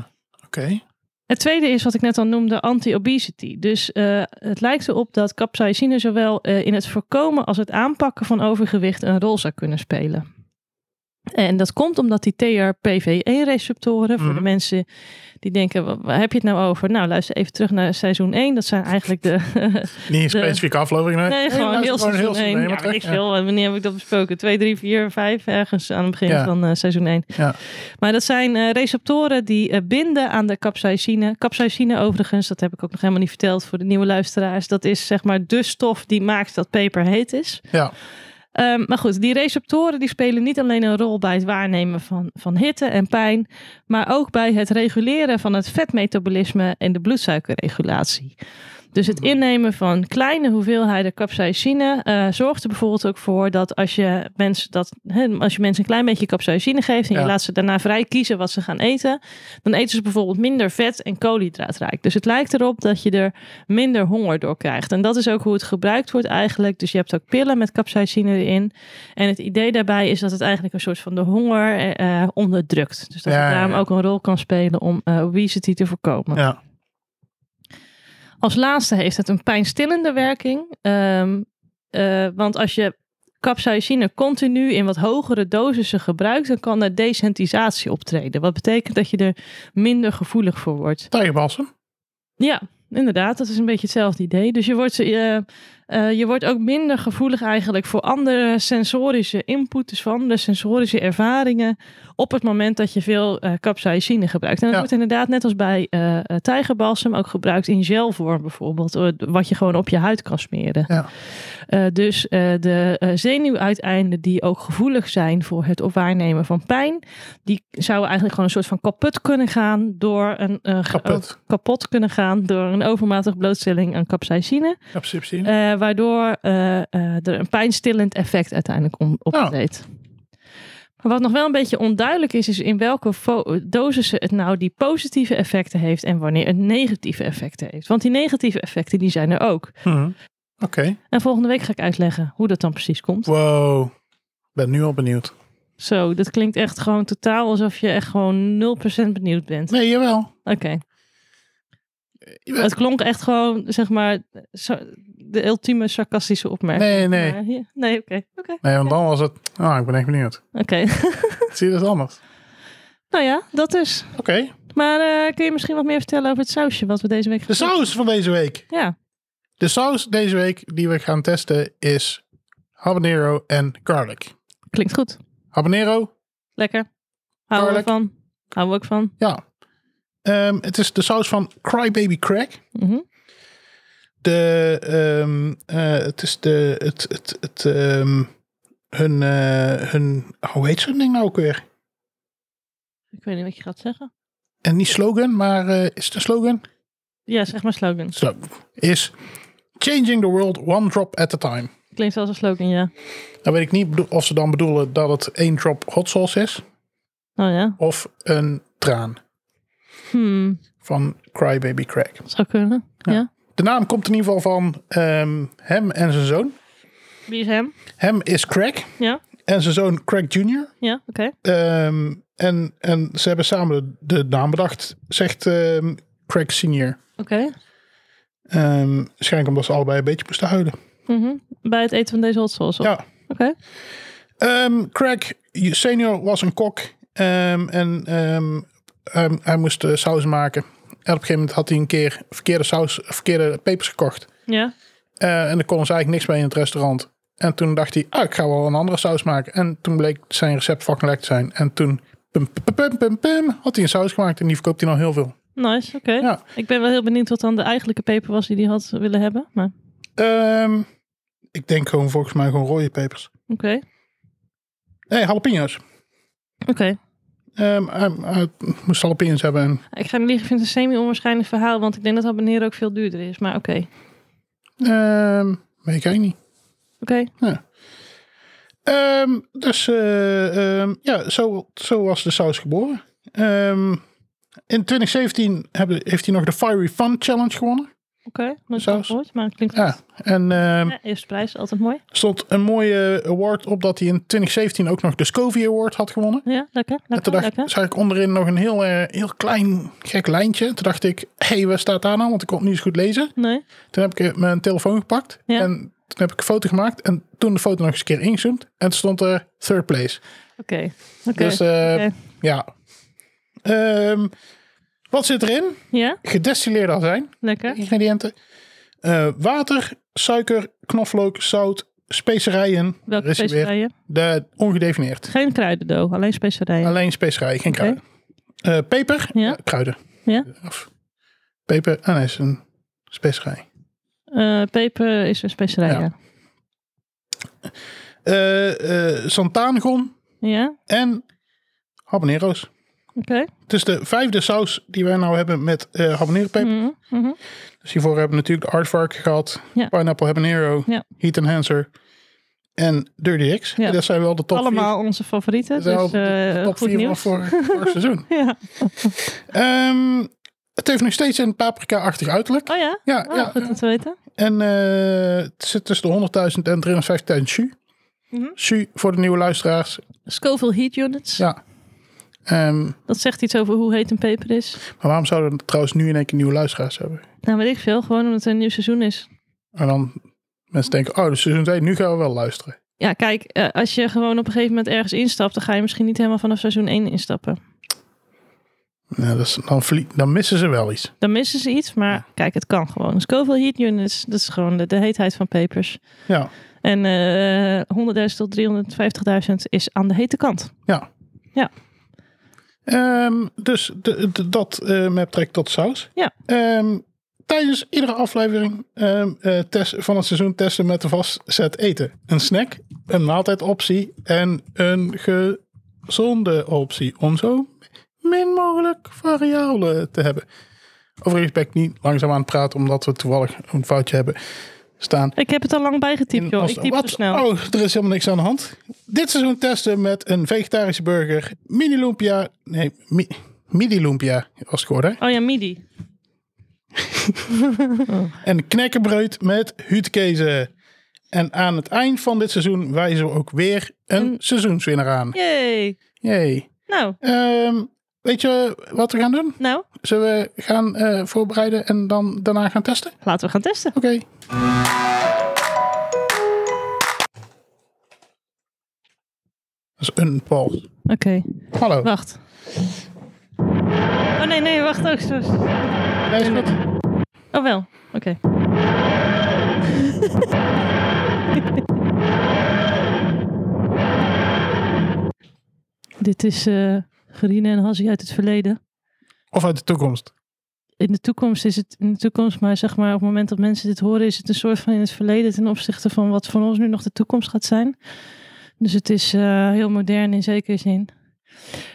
[SPEAKER 2] Oké.
[SPEAKER 1] Het tweede is wat ik net al noemde, anti-obesity. Dus eh, het lijkt erop dat capsaïcine zowel eh, in het voorkomen als het aanpakken van overgewicht een rol zou kunnen spelen. En dat komt omdat die TRPV1-receptoren, voor de
[SPEAKER 2] Mhm.
[SPEAKER 1] mensen die denken, "Wa- waar heb je het nou over? Nou, luister even terug naar seizoen 1. Dat zijn eigenlijk de...
[SPEAKER 2] Niet een specifieke aflevering. Nee,
[SPEAKER 1] nee, gewoon heel
[SPEAKER 2] luister
[SPEAKER 1] seizoen 1.
[SPEAKER 2] helemaal
[SPEAKER 1] Ja,
[SPEAKER 2] terug.
[SPEAKER 1] weet ik veel. eh, Wanneer heb ik dat besproken? 2, 3, 4, 5, ergens aan het begin
[SPEAKER 2] Ja.
[SPEAKER 1] van eh, seizoen 1.
[SPEAKER 2] Ja.
[SPEAKER 1] Maar dat zijn eh, receptoren die eh, binden aan de capsaïcine. Capsaïcine overigens, dat heb ik ook nog helemaal niet verteld voor de nieuwe luisteraars. Dat is zeg maar de stof die maakt dat peper heet is.
[SPEAKER 2] Ja.
[SPEAKER 1] Ehm, maar goed, die receptoren die spelen niet alleen een rol bij het waarnemen van, van hitte en pijn, maar ook bij het reguleren van het vetmetabolisme en de bloedsuikerregulatie. Dus het
[SPEAKER 2] Hmm.
[SPEAKER 1] innemen van kleine hoeveelheden capsaïcine eh, zorgt er bijvoorbeeld ook voor dat als je mensen, dat, hè, als je mensen een klein beetje capsaïcine geeft en je
[SPEAKER 2] Ja.
[SPEAKER 1] laat ze daarna vrij kiezen wat ze gaan eten, dan eten ze bijvoorbeeld minder vet en koolhydraatrijk. Dus het lijkt erop dat je er minder honger door krijgt. En dat is ook hoe het gebruikt wordt eigenlijk. Dus je hebt ook pillen met capsaïcine erin. En het idee daarbij is dat het eigenlijk een soort van de honger eh, eh, onderdrukt. Dus dat
[SPEAKER 2] Ja,
[SPEAKER 1] het daarom
[SPEAKER 2] ja, ja.
[SPEAKER 1] ook een rol kan spelen om eh, obesity te voorkomen.
[SPEAKER 2] Ja.
[SPEAKER 1] Als laatste heeft het een pijnstillende werking. Ehm, eh, want als je capsaïcine continu in wat hogere dosissen gebruikt, dan kan er desensitisatie optreden. Wat betekent dat je er minder gevoelig voor wordt.
[SPEAKER 2] Tijgerbalsem.
[SPEAKER 1] Ja, inderdaad. Dat is een beetje hetzelfde idee. Dus je wordt, eh, eh, je wordt ook minder gevoelig eigenlijk voor andere sensorische input, dus voor andere sensorische ervaringen op het moment dat je veel eh capsaïcine gebruikt. En dat
[SPEAKER 2] Ja.
[SPEAKER 1] wordt inderdaad net als bij eh eh, tijgerbalsem ook gebruikt in gelvorm bijvoorbeeld, eh, wat je gewoon op je huid kan smeren.
[SPEAKER 2] Ja.
[SPEAKER 1] Eh, dus eh, de eh, zenuwuiteinden die ook gevoelig zijn voor het waarnemen van pijn, die zouden eigenlijk gewoon een soort van kapot kunnen gaan door een eh, ge-
[SPEAKER 2] Kapot.
[SPEAKER 1] kapot kunnen gaan door een overmatig blootstelling aan capsaïcine.
[SPEAKER 2] Capsaicin.
[SPEAKER 1] eh, waardoor eh, eh, er een pijnstillend effect uiteindelijk om- optreedt. Maar wat nog wel een beetje onduidelijk is, is in welke fo- dosissen het nou die positieve effecten heeft en wanneer het negatieve effecten heeft. Want die negatieve effecten die zijn er ook.
[SPEAKER 2] Mhm. Oké.
[SPEAKER 1] En volgende week ga ik uitleggen hoe dat dan precies komt.
[SPEAKER 2] Wow. Ik ben nu al benieuwd.
[SPEAKER 1] Zo, dat klinkt echt gewoon totaal alsof je echt gewoon 0% benieuwd bent.
[SPEAKER 2] Nee, jawel.
[SPEAKER 1] Oké. Het klonk echt gewoon, zeg maar, sa- de ultieme sarcastische opmerking.
[SPEAKER 2] Nee, nee.
[SPEAKER 1] Maar hier- nee, oké. Oké,
[SPEAKER 2] Nee, want dan was het... Ah, ik ben echt benieuwd.
[SPEAKER 1] oké.
[SPEAKER 2] Zie je dat anders?
[SPEAKER 1] nou ja, dat is.
[SPEAKER 2] Oké.
[SPEAKER 1] Maar eh, kun je misschien wat meer vertellen over het sausje wat we deze week
[SPEAKER 2] De
[SPEAKER 1] hebben?
[SPEAKER 2] saus van deze week.
[SPEAKER 1] Ja,
[SPEAKER 2] De saus deze week die we gaan testen is habanero en garlic.
[SPEAKER 1] klinkt goed.
[SPEAKER 2] Habanero,
[SPEAKER 1] Lekker. Houden we
[SPEAKER 2] Garlic.
[SPEAKER 1] van. Houden we ook van.
[SPEAKER 2] ja. Ehm, het is de saus van Crybaby Crack.
[SPEAKER 1] Mhm.
[SPEAKER 2] De, ehm, eh, het is de, het, het, het, ehm, hun, eh, hun, hoe heet zo'n ding nou ook weer?
[SPEAKER 1] Ik weet niet wat je gaat zeggen.
[SPEAKER 2] En niet slogan, maar eh, is het een slogan?
[SPEAKER 1] Ja, zeg maar slogan.
[SPEAKER 2] Zo, is Changing the World One Drop at a Time.
[SPEAKER 1] Klinkt als een slogan, ja.
[SPEAKER 2] Dan weet ik niet bedo- of ze dan bedoelen dat het één drop hot sauce is
[SPEAKER 1] Nou ja.
[SPEAKER 2] of een traan
[SPEAKER 1] Hmm,
[SPEAKER 2] van Crybaby Crack.
[SPEAKER 1] zou kunnen. Ja.
[SPEAKER 2] De naam komt in ieder geval van ehm, hem en zijn zoon.
[SPEAKER 1] Wie is hem?
[SPEAKER 2] Hem is Crack
[SPEAKER 1] Ja.
[SPEAKER 2] en zijn zoon Crack Jr.
[SPEAKER 1] Ja, oké.
[SPEAKER 2] Ehm, en, en ze hebben samen de, de naam bedacht, zegt ehm, Craig Senior.
[SPEAKER 1] Oké.
[SPEAKER 2] Ehm waarschijnlijk omdat ze allebei een beetje moesten huilen.
[SPEAKER 1] Mhm. Bij het eten van deze hot sauce.
[SPEAKER 2] Ja.
[SPEAKER 1] Oké.
[SPEAKER 2] Ehm, Craig Senior was een kok ehm, en ehm, hij- hij moest eh, saus maken. En op een gegeven moment had hij een keer verkeerde, saus, verkeerde pepers gekocht.
[SPEAKER 1] Ja.
[SPEAKER 2] Eh, en daar kon ze eigenlijk niks mee in het restaurant. En toen dacht hij, ah, ik ga wel een andere saus maken. En toen bleek zijn recept fucking lekker te zijn. En toen pum, pum, pum, pum, pum, had hij een saus gemaakt en die verkoopt hij nou heel veel.
[SPEAKER 1] Nice, oké.
[SPEAKER 2] Ja.
[SPEAKER 1] Ik ben wel heel benieuwd wat dan de eigenlijke peper was die hij had willen hebben. Maar
[SPEAKER 2] Ehm, ik denk gewoon volgens mij gewoon rode pepers.
[SPEAKER 1] oké,
[SPEAKER 2] Nee, jalapeno's.
[SPEAKER 1] oké.
[SPEAKER 2] Ehm, hij, hij moest jalapeno's hebben. En,
[SPEAKER 1] Ik ga niet liegen, ik vind het een semi-onwaarschijnlijk verhaal, want ik denk dat abonneren ook veel duurder is. Maar oké, oké.
[SPEAKER 2] ehm, weet ik eigenlijk niet. Ehm, dus eh, ehm, ja, zo, zo was de saus geboren. Ehm, in 2017 hebben, heeft hij nog de Fiery Fun Challenge gewonnen.
[SPEAKER 1] Oké, nooit van
[SPEAKER 2] Saus.
[SPEAKER 1] gehoord, maar het klinkt
[SPEAKER 2] Ja,
[SPEAKER 1] goed.
[SPEAKER 2] en ehm,
[SPEAKER 1] Ja, eerste prijs, altijd mooi.
[SPEAKER 2] stond een mooie award op dat hij in 2017 ook nog de Scovie Award had gewonnen.
[SPEAKER 1] Ja, lekker,
[SPEAKER 2] En toen
[SPEAKER 1] lekker,
[SPEAKER 2] dacht,
[SPEAKER 1] lekker.
[SPEAKER 2] zag ik onderin nog een heel, eh, heel klein gek lijntje. Toen dacht ik, hé, hey, waar staat daar nou? Want ik kon het niet eens goed lezen.
[SPEAKER 1] Nee,
[SPEAKER 2] Toen heb ik eh, mijn telefoon gepakt
[SPEAKER 1] Ja.
[SPEAKER 2] en toen heb ik een foto gemaakt. En toen de foto nog eens een keer ingezoomd. En toen stond er third place.
[SPEAKER 1] oké. Oké,
[SPEAKER 2] Dus eh,
[SPEAKER 1] Oké.
[SPEAKER 2] ja. Ehm, wat zit erin?
[SPEAKER 1] ja,
[SPEAKER 2] Gedestilleerde azijn,
[SPEAKER 1] lekker.
[SPEAKER 2] ingrediënten. Eh, water, suiker, knoflook, zout, specerijen.
[SPEAKER 1] Welke
[SPEAKER 2] Er is er weer.
[SPEAKER 1] specerijen?
[SPEAKER 2] De, ongedefinieerd.
[SPEAKER 1] Geen kruidendoog, alleen specerijen.
[SPEAKER 2] Alleen specerijen, geen
[SPEAKER 1] Oké.
[SPEAKER 2] kruiden. Eh, peper,
[SPEAKER 1] Ja.
[SPEAKER 2] eh, kruiden.
[SPEAKER 1] Ja.
[SPEAKER 2] Of peper, ah nee, is een specerij.
[SPEAKER 1] Eh, peper is een specerij,
[SPEAKER 2] Ja.
[SPEAKER 1] ja.
[SPEAKER 2] Eh eh santaangon
[SPEAKER 1] Ja,
[SPEAKER 2] en habanero's.
[SPEAKER 1] oké.
[SPEAKER 2] Het is de vijfde saus die wij nou hebben met eh habaneropeper.
[SPEAKER 1] Mhm, mhm.
[SPEAKER 2] Dus hiervoor hebben we natuurlijk de Aardvark gehad.
[SPEAKER 1] Ja.
[SPEAKER 2] Pineapple Habanero.
[SPEAKER 1] Ja.
[SPEAKER 2] Heat Enhancer. En Dirty X.
[SPEAKER 1] Ja.
[SPEAKER 2] Dat zijn wel de top
[SPEAKER 1] Allemaal onze favorieten,
[SPEAKER 2] vier. Dat
[SPEAKER 1] dus
[SPEAKER 2] zijn wel de
[SPEAKER 1] eh,
[SPEAKER 2] top
[SPEAKER 1] goed
[SPEAKER 2] vier van
[SPEAKER 1] nieuws.
[SPEAKER 2] vorig, vorig seizoen.
[SPEAKER 1] Ja.
[SPEAKER 2] Ehm, het heeft nog steeds een paprika-achtig uiterlijk.
[SPEAKER 1] Oh ja?
[SPEAKER 2] Ja,
[SPEAKER 1] Oh,
[SPEAKER 2] ja.
[SPEAKER 1] goed om te weten.
[SPEAKER 2] En eh, het zit tussen de 100.000 en 350.000 jus.
[SPEAKER 1] Mhm.
[SPEAKER 2] Jus voor de nieuwe luisteraars.
[SPEAKER 1] Scoville Heat Units.
[SPEAKER 2] Ja. Ehm, maar
[SPEAKER 1] Dat zegt iets over hoe heet een peper is.
[SPEAKER 2] waarom zouden we trouwens nu in één keer nieuwe luisteraars hebben?
[SPEAKER 1] Nou, weet ik veel. Gewoon omdat er een nieuw seizoen is.
[SPEAKER 2] En dan mensen denken, oh, dus seizoen 2, nu gaan we wel luisteren.
[SPEAKER 1] Ja, kijk, eh, als je gewoon op een gegeven moment ergens instapt, dan ga je misschien niet helemaal vanaf seizoen 1 instappen.
[SPEAKER 2] Nou, dat is, dan, verlie- dan missen ze wel iets.
[SPEAKER 1] Dan missen ze iets, maar kijk, het kan gewoon. Scoville Heat Units, dat is gewoon de, de heetheid van pepers.
[SPEAKER 2] Ja.
[SPEAKER 1] En eh 100.000 tot 350.000 is aan de hete kant.
[SPEAKER 2] Ja.
[SPEAKER 1] Ja.
[SPEAKER 2] Ehm, dus de, de- dat eh, met betrekking tot saus.
[SPEAKER 1] Ja.
[SPEAKER 2] Ehm, tijdens iedere aflevering ehm, eh, test, van het seizoen testen met de vastzet eten. Een snack, een maaltijdoptie en een gezonde optie. Om zo min mogelijk variabelen te hebben. Overigens ben ik niet langzaam aan het praten omdat we toevallig een foutje hebben staan.
[SPEAKER 1] Ik heb het al lang bijgetypt,
[SPEAKER 2] In
[SPEAKER 1] joh.
[SPEAKER 2] Amsterdam.
[SPEAKER 1] Ik typ
[SPEAKER 2] Wat?
[SPEAKER 1] te snel.
[SPEAKER 2] Oh, er is helemaal niks aan de hand. Dit seizoen testen met een vegetarische burger. Mini lumpia. Nee, mi- midi lumpia was het geworden.
[SPEAKER 1] Oh ja, midi.
[SPEAKER 2] En knekkenbreud met huutkezen. En aan het eind van dit seizoen wijzen we ook weer een seizoenswinnaar aan.
[SPEAKER 1] Yay.
[SPEAKER 2] Jee.
[SPEAKER 1] Nou,
[SPEAKER 2] Ehm, weet je wat we gaan doen?
[SPEAKER 1] nou,
[SPEAKER 2] Zullen we gaan eh, voorbereiden en dan daarna gaan testen?
[SPEAKER 1] laten we gaan testen.
[SPEAKER 2] Oké. Dat is een pol.
[SPEAKER 1] Oké,
[SPEAKER 2] Hallo.
[SPEAKER 1] wacht. Oh nee, nee, wacht ook. zo.
[SPEAKER 2] Nee, is goed.
[SPEAKER 1] Oh wel, oké. Dit is eh Gerine en Hassie uit het verleden.
[SPEAKER 2] Of uit de toekomst.
[SPEAKER 1] In de toekomst is het in de toekomst, maar zeg maar op het moment dat mensen dit horen, is het een soort van in het verleden ten opzichte van wat van ons nu nog de toekomst gaat zijn. Dus het is eh, heel modern in zekere zin.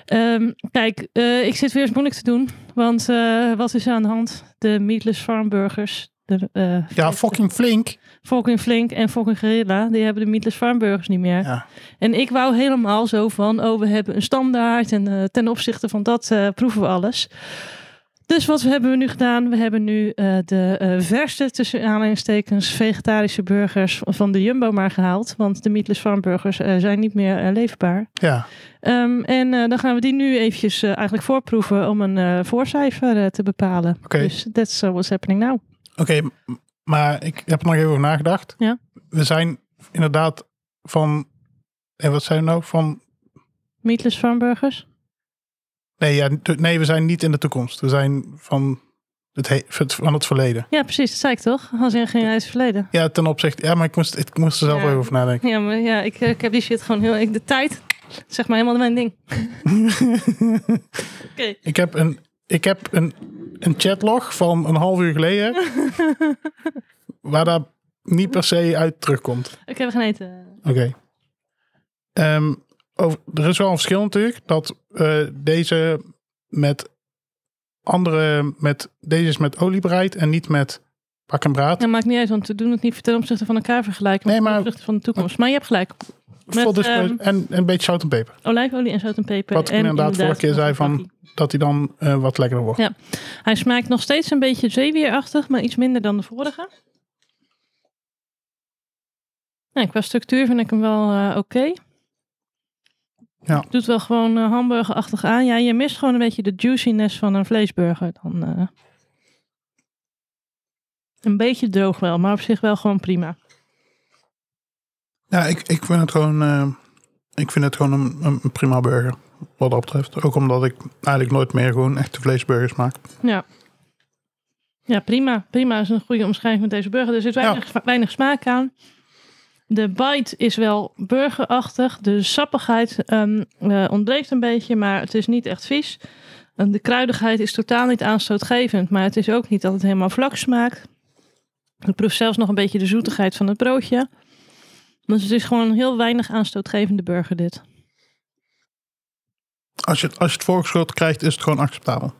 [SPEAKER 1] Ehm, kijk, eh, ik zit weer eens moeilijk te doen, want eh, wat is er aan de hand? De meatless farmburgers. De, eh,
[SPEAKER 2] Ja, fucking flink.
[SPEAKER 1] Volkin Flink en Volkin Guerrilla, die hebben de meatless farmburgers niet meer.
[SPEAKER 2] Ja.
[SPEAKER 1] En ik wou helemaal zo van, oh we hebben een standaard en eh, ten opzichte van dat eh, proeven we alles. Dus wat hebben we nu gedaan? We hebben nu eh, de eh verste, tussen aanhalingstekens, vegetarische burgers van de Jumbo maar gehaald. Want de meatless farmburgers eh, zijn niet meer eh, leefbaar.
[SPEAKER 2] Ja.
[SPEAKER 1] Ehm, en eh, dan gaan we die nu eventjes eh, eigenlijk voorproeven om een eh, voorcijfer eh, te bepalen.
[SPEAKER 2] Oké.
[SPEAKER 1] Dus that's eh, what's happening now.
[SPEAKER 2] Oké, m- maar ik heb er nog even over nagedacht.
[SPEAKER 1] Ja.
[SPEAKER 2] We zijn inderdaad van... En wat zijn we nou? Van...
[SPEAKER 1] Meatless farmburgers?
[SPEAKER 2] Nee, ja, t- nee, we zijn niet in de toekomst. We zijn van het, he- van het verleden.
[SPEAKER 1] Ja, precies, dat zei ik toch? Als in geen uit het verleden.
[SPEAKER 2] Ja, ten opzichte... Ja, maar ik moest, ik moest er zelf
[SPEAKER 1] Ja. eh,
[SPEAKER 2] even over nadenken.
[SPEAKER 1] Ja, maar ja, ik, ik heb die shit gewoon heel. Ik, de tijd Zeg maar helemaal mijn ding. Oké.
[SPEAKER 2] Ik heb een, ik heb een, een chatlog van een half uur geleden. waar dat niet per se uit terugkomt.
[SPEAKER 1] Oké, we gaan eten.
[SPEAKER 2] Oké. Ehm, over- er is wel een verschil natuurlijk. Dat eh, deze met andere. Met, deze is met olie bereid en niet met pak en braad.
[SPEAKER 1] Dat maakt niet uit, want we doen het niet ten opzichte van elkaar vergelijken. Maar
[SPEAKER 2] Nee, maar-
[SPEAKER 1] ten opzichte van de toekomst. Maar je hebt gelijk. Met,
[SPEAKER 2] Full disclosure.
[SPEAKER 1] ehm,
[SPEAKER 2] dus en, en een beetje zout en peper.
[SPEAKER 1] olijfolie en zout en peper.
[SPEAKER 2] Wat ik
[SPEAKER 1] en
[SPEAKER 2] inderdaad vorige keer zei
[SPEAKER 1] nog een
[SPEAKER 2] van-
[SPEAKER 1] bakkie.
[SPEAKER 2] Dat hij dan eh, wat lekkerder wordt.
[SPEAKER 1] Ja. Hij smaakt nog steeds een beetje zeewierachtig, maar iets minder dan de vorige. Nee, Nou, qua structuur vind ik hem wel eh, oké.
[SPEAKER 2] Ja.
[SPEAKER 1] Doet wel gewoon eh, hamburgerachtig aan. Ja, je mist gewoon een beetje de juiciness van een vleesburger. Dan, eh. Een beetje droog wel, maar op zich wel gewoon prima.
[SPEAKER 2] Ja, ik, ik vind het gewoon, eh, ik vind het gewoon een, een- een prima burger. Wat dat betreft. Ook omdat ik eigenlijk nooit meer gewoon echte vleesburgers maak.
[SPEAKER 1] Ja. Ja, prima. Prima is een goede omschrijving van deze burger. Er zit weinig, weinig smaak aan. De bite is wel burgerachtig. De sappigheid ehm, eh, ontbreekt een beetje, maar het is niet echt vies. En De kruidigheid is totaal niet aanstootgevend, maar het is ook niet dat het helemaal vlak smaakt. Ik proef zelfs nog een beetje de zoetigheid van het broodje. Dus het is gewoon een heel weinig aanstootgevende burger dit.
[SPEAKER 2] Als je, het- als je het voorgeschoten krijgt, is het gewoon acceptabel.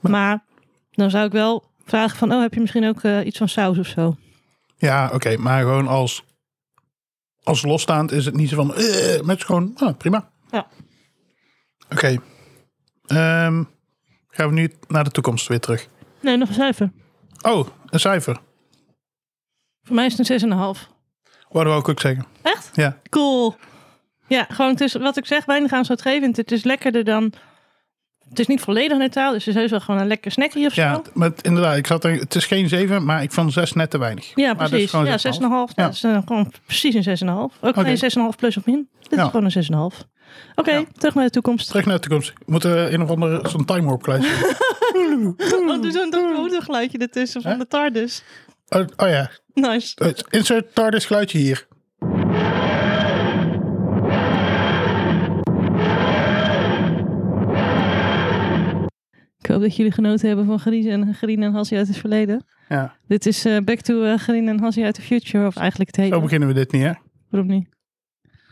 [SPEAKER 1] Maar dan zou ik wel vragen van, oh heb je misschien ook eh, iets van saus of zo?
[SPEAKER 2] Ja, oké. maar gewoon als, als losstaand is het niet zo van... eh, maar het is gewoon ah, prima.
[SPEAKER 1] Ja.
[SPEAKER 2] Oké. Ehm, gaan we nu naar de toekomst weer terug.
[SPEAKER 1] Nee, nog een cijfer.
[SPEAKER 2] Oh, een cijfer.
[SPEAKER 1] Voor mij is het een 6,5.
[SPEAKER 2] Wat wou ik ook zeggen.
[SPEAKER 1] Echt?
[SPEAKER 2] Ja.
[SPEAKER 1] Cool. Ja, gewoon het is, wat ik zeg, weinig aanstootgevend. Het is lekkerder dan... Het is niet volledig neutraal, dus het is heus wel gewoon een lekker snackje of zo.
[SPEAKER 2] Ja, maar het- inderdaad. Ik zat er, het is geen 7, maar ik vond 6 net te weinig.
[SPEAKER 1] Ja,
[SPEAKER 2] Maar dat
[SPEAKER 1] precies.
[SPEAKER 2] is gewoon
[SPEAKER 1] Ja, 6,5.
[SPEAKER 2] 6,5.
[SPEAKER 1] Dat is eh, gewoon precies een 6,5. Ook
[SPEAKER 2] Oké.
[SPEAKER 1] geen 6,5 plus of min. Dit
[SPEAKER 2] Ja.
[SPEAKER 1] is gewoon een 6,5. Oké,
[SPEAKER 2] Ja.
[SPEAKER 1] terug naar de toekomst.
[SPEAKER 2] Terug naar de toekomst. We moeten een of andere zo'n timer opkluiten.
[SPEAKER 1] Oh, doe zo'n dood geluidje ertussen van
[SPEAKER 2] Hè?
[SPEAKER 1] de TARDIS.
[SPEAKER 2] Oh, oh ja,
[SPEAKER 1] Nice.
[SPEAKER 2] Eh, insert TARDIS geluidje hier.
[SPEAKER 1] Ik hoop dat jullie genoten hebben van Grien en, Grien en Hassie uit het verleden.
[SPEAKER 2] Ja.
[SPEAKER 1] Dit is eh, Back to eh, Grien en Hassie uit the Future. Of eigenlijk het hele.
[SPEAKER 2] Zo beginnen we dit niet, hè?
[SPEAKER 1] Waarom niet?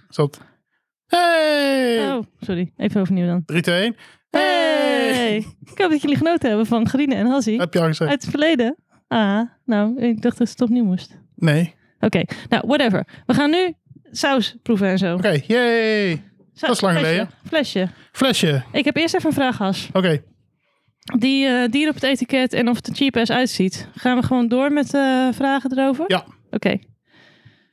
[SPEAKER 2] Is dat... Hey!
[SPEAKER 1] Oh, sorry. Even overnieuw dan.
[SPEAKER 2] 3, 2, 1.
[SPEAKER 1] Hey! Ik hoop dat jullie genoten hebben van Grine en Hassie.
[SPEAKER 2] Heb je al gezegd?
[SPEAKER 1] Uit het verleden. Ah, nou, ik dacht dat ze het opnieuw moest.
[SPEAKER 2] Nee.
[SPEAKER 1] Oké, nou, whatever. We gaan nu saus proeven en zo.
[SPEAKER 2] Oké, yay!
[SPEAKER 1] Saus,
[SPEAKER 2] dat is lang
[SPEAKER 1] flesje,
[SPEAKER 2] geleden.
[SPEAKER 1] Flesje.
[SPEAKER 2] Flesje.
[SPEAKER 1] Ik heb eerst even een vraag, Has.
[SPEAKER 2] Oké,
[SPEAKER 1] Die eh dier op het etiket en of het er cheap ass uitziet. Gaan we gewoon door met eh, vragen erover?
[SPEAKER 2] Ja.
[SPEAKER 1] Oké.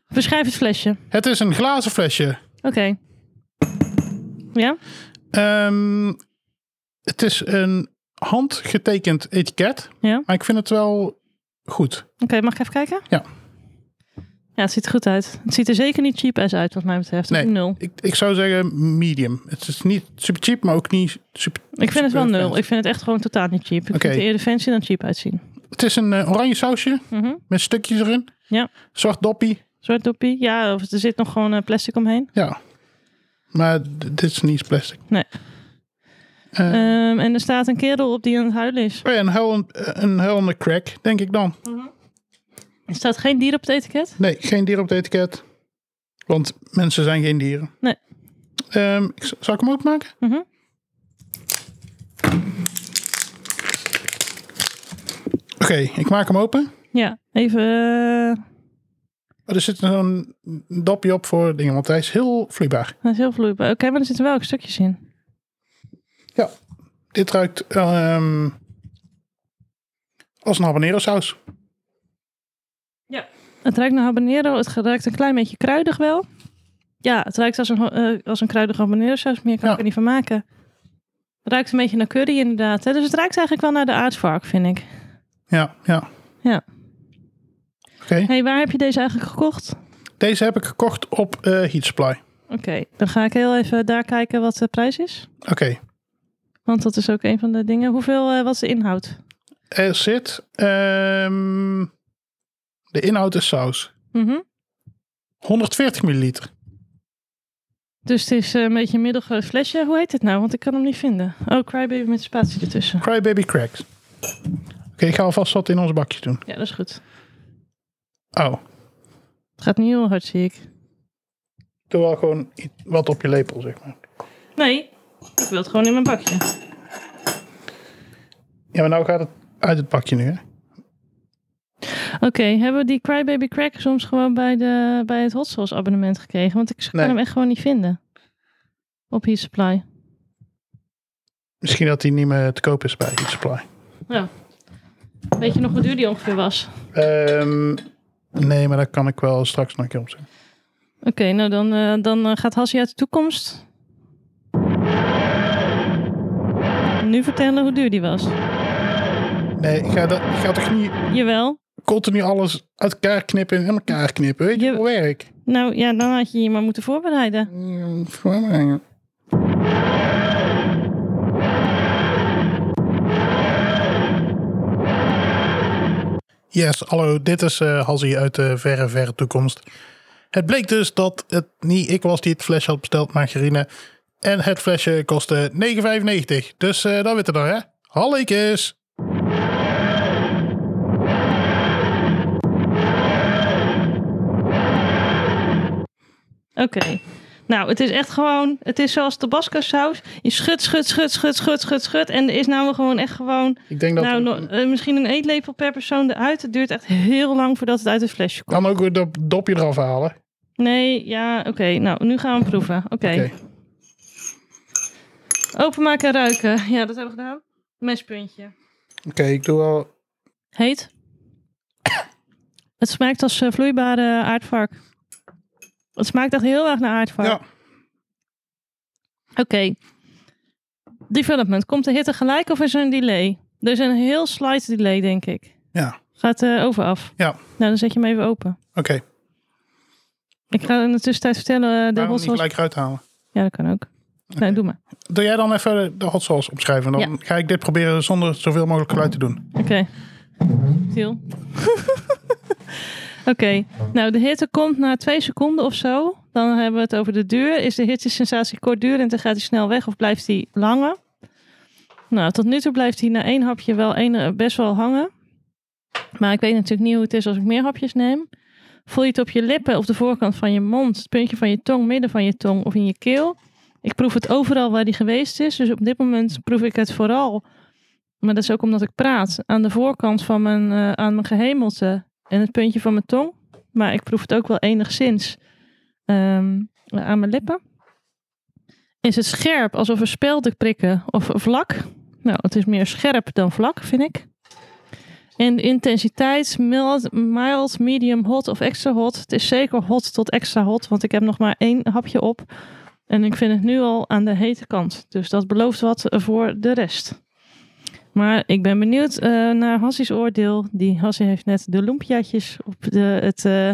[SPEAKER 1] Beschrijf het flesje.
[SPEAKER 2] het is een glazen flesje.
[SPEAKER 1] Oké. Ja?
[SPEAKER 2] Ehm, het is een handgetekend etiket.
[SPEAKER 1] Ja.
[SPEAKER 2] Maar ik vind het wel goed.
[SPEAKER 1] Oké, mag ik even kijken?
[SPEAKER 2] Ja.
[SPEAKER 1] Ja, het ziet er goed uit. Het ziet er zeker niet cheap ass uit, wat mij betreft.
[SPEAKER 2] Nee.
[SPEAKER 1] Nul.
[SPEAKER 2] Ik, ik zou zeggen medium. Het is niet super cheap, maar ook niet super...
[SPEAKER 1] Ik vind het wel
[SPEAKER 2] super
[SPEAKER 1] nul.
[SPEAKER 2] fancy.
[SPEAKER 1] Ik vind het echt gewoon totaal niet cheap. Ik
[SPEAKER 2] Oké.
[SPEAKER 1] vind het eerder fancy dan cheap uitzien.
[SPEAKER 2] Het is een eh, oranje sausje
[SPEAKER 1] Mhm.
[SPEAKER 2] met stukjes erin.
[SPEAKER 1] Ja.
[SPEAKER 2] Zwart doppie.
[SPEAKER 1] Zwart doppie. Ja, of er zit nog gewoon eh, plastic omheen.
[SPEAKER 2] Ja. Maar d- dit is niet eens plastic.
[SPEAKER 1] Nee.
[SPEAKER 2] Eh,
[SPEAKER 1] Ehm, en er staat een kerel op die aan het huilen is.
[SPEAKER 2] oh ja, een huil, een huilende crack, denk ik dan.
[SPEAKER 1] Er staat geen dier op het etiket.
[SPEAKER 2] Nee, geen dier op het etiket. Want mensen zijn geen dieren.
[SPEAKER 1] Nee.
[SPEAKER 2] Ehm, ik z- zal ik hem openmaken?
[SPEAKER 1] Mhm.
[SPEAKER 2] Oké, ik maak hem open.
[SPEAKER 1] Ja, even... eh,
[SPEAKER 2] Oh, er zit zo'n dopje op voor dingen, want hij is heel vloeibaar.
[SPEAKER 1] hij is heel vloeibaar. Oké, maar er zitten wel ook stukjes in.
[SPEAKER 2] Ja, dit ruikt ehm, als een habanero saus.
[SPEAKER 1] Het ruikt naar habanero. Het ruikt een klein beetje kruidig wel. Ja, het ruikt als een, ho- eh, als een kruidige habanero saus. Meer kan
[SPEAKER 2] Ja.
[SPEAKER 1] ik er niet van maken. Het ruikt een beetje naar curry inderdaad. Hè? Dus het ruikt eigenlijk wel naar de aardvark, vind ik.
[SPEAKER 2] Ja, ja.
[SPEAKER 1] Ja.
[SPEAKER 2] Oké,
[SPEAKER 1] hey, waar heb je deze eigenlijk gekocht?
[SPEAKER 2] deze heb ik gekocht op eh Heat Supply.
[SPEAKER 1] Oké, dan ga ik heel even daar kijken wat de prijs is.
[SPEAKER 2] Oké,
[SPEAKER 1] Want dat is ook een van de dingen. Hoeveel, eh, wat is de inhoud?
[SPEAKER 2] er zit... ehm, de inhoud is saus.
[SPEAKER 1] Mhm.
[SPEAKER 2] 140 milliliter.
[SPEAKER 1] Dus het is eh, een beetje een middelgroot flesje. Hoe heet het nou? Want ik kan hem niet vinden. Oh, Crybaby met spatie ertussen.
[SPEAKER 2] Crybaby cracks. Oké, ik ga alvast wat in ons bakje doen.
[SPEAKER 1] Ja, dat is goed.
[SPEAKER 2] Oh,
[SPEAKER 1] Het gaat niet heel hard, zie ik.
[SPEAKER 2] doe wel gewoon i- wat op je lepel, zeg maar.
[SPEAKER 1] Nee, ik wil het gewoon in mijn bakje.
[SPEAKER 2] Ja, maar nou gaat het uit het bakje nu, hè?
[SPEAKER 1] Oké, hebben we die Crybaby Crack soms gewoon bij, de, bij het Hot Sauce abonnement gekregen? Want ik kan
[SPEAKER 2] Nee.
[SPEAKER 1] hem echt gewoon niet vinden. Op Heat Supply.
[SPEAKER 2] Misschien dat die niet meer te koop is bij Eat Supply.
[SPEAKER 1] Ja. Weet je nog hoe duur die ongeveer was?
[SPEAKER 2] Ehm, nee, maar daar kan ik wel straks nog een keer op zeggen.
[SPEAKER 1] Oké, nou dan, eh, dan eh, gaat Hassie uit de toekomst. Nu vertellen hoe duur die was.
[SPEAKER 2] Nee, ik ga, dat, ik ga toch niet
[SPEAKER 1] Jawel.
[SPEAKER 2] continu alles uit elkaar knippen en in elkaar knippen. Weet je,
[SPEAKER 1] Je-
[SPEAKER 2] voor werk.
[SPEAKER 1] Nou ja, dan had je je maar moeten voorbereiden.
[SPEAKER 2] Mm, voor mij. Yes, hallo, dit is eh Hazzy uit de verre, verre toekomst. Het bleek dus dat het niet ik was die het flesje had besteld, margarine. En het flesje kostte 9,95. Dus eh dat weten we dan, hè? Hallekes!
[SPEAKER 1] Oké. Nou, het is echt gewoon, het is zoals tabasco saus. Je schudt, schudt, schudt, schudt, schudt, schudt, schudt. En er is nou gewoon echt gewoon,
[SPEAKER 2] Ik denk dat
[SPEAKER 1] nou, no- eh, misschien een eetlepel per persoon eruit. Het duurt echt heel lang voordat het uit het flesje komt.
[SPEAKER 2] kan ook weer dat dopje eraf halen.
[SPEAKER 1] Nee, ja, oké. Nou, nu gaan we hem proeven. Oké.
[SPEAKER 2] Oké.
[SPEAKER 1] Openmaken en ruiken. Ja, dat hebben we gedaan. Mespuntje.
[SPEAKER 2] Oké, ik doe wel.
[SPEAKER 1] Heet. het smaakt als eh, vloeibare aardvark. Het smaakt echt heel erg naar aardvark.
[SPEAKER 2] Ja,
[SPEAKER 1] Oké. Development. Komt de hitte gelijk of is er een delay? Er is een heel slight delay, denk ik.
[SPEAKER 2] ja,
[SPEAKER 1] Gaat eh over af.
[SPEAKER 2] Ja.
[SPEAKER 1] Nou, dan zet je hem even open.
[SPEAKER 2] oké.
[SPEAKER 1] Ik ga in de tussentijd vertellen. eh, de
[SPEAKER 2] Waarom
[SPEAKER 1] hot
[SPEAKER 2] niet
[SPEAKER 1] sauce.
[SPEAKER 2] gelijk eruit halen?
[SPEAKER 1] Ja, dat kan ook. Nou, doe maar.
[SPEAKER 2] Doe jij dan even de hot sauce opschrijven. Dan
[SPEAKER 1] Ja.
[SPEAKER 2] ga ik dit proberen zonder zoveel mogelijk geluid te doen.
[SPEAKER 1] Oké. Stil. Oké. Nou, de hitte komt na twee seconden of zo. Dan hebben we het over de duur. Is de hittesensatie kortdurend en gaat hij snel weg of blijft hij langer? Nou, tot nu toe blijft hij na één hapje wel één, eh, best wel hangen. Maar ik weet natuurlijk niet hoe het is als ik meer hapjes neem. Voel je het op je lippen of de voorkant van je mond, het puntje van je tong, midden van je tong of in je keel? Ik proef het overal waar die geweest is. Dus op dit moment proef ik het vooral maar dat is ook omdat ik praat aan de voorkant van mijn, eh, aan mijn gehemelte en het puntje van mijn tong. Maar ik proef het ook wel enigszins ehm, aan mijn lippen. Is het scherp, alsof er spelden prikken of vlak? Nou, het is meer scherp dan vlak, vind ik. En de intensiteit, mild, mild, medium hot of extra hot. Het is zeker hot tot extra hot, want ik heb nog maar één hapje op. En ik vind het nu al aan de hete kant. Dus dat belooft wat voor de rest. Maar ik ben benieuwd eh, naar Hassie's oordeel. Die Hassie heeft net de lumpiaatjes op, de, het, eh,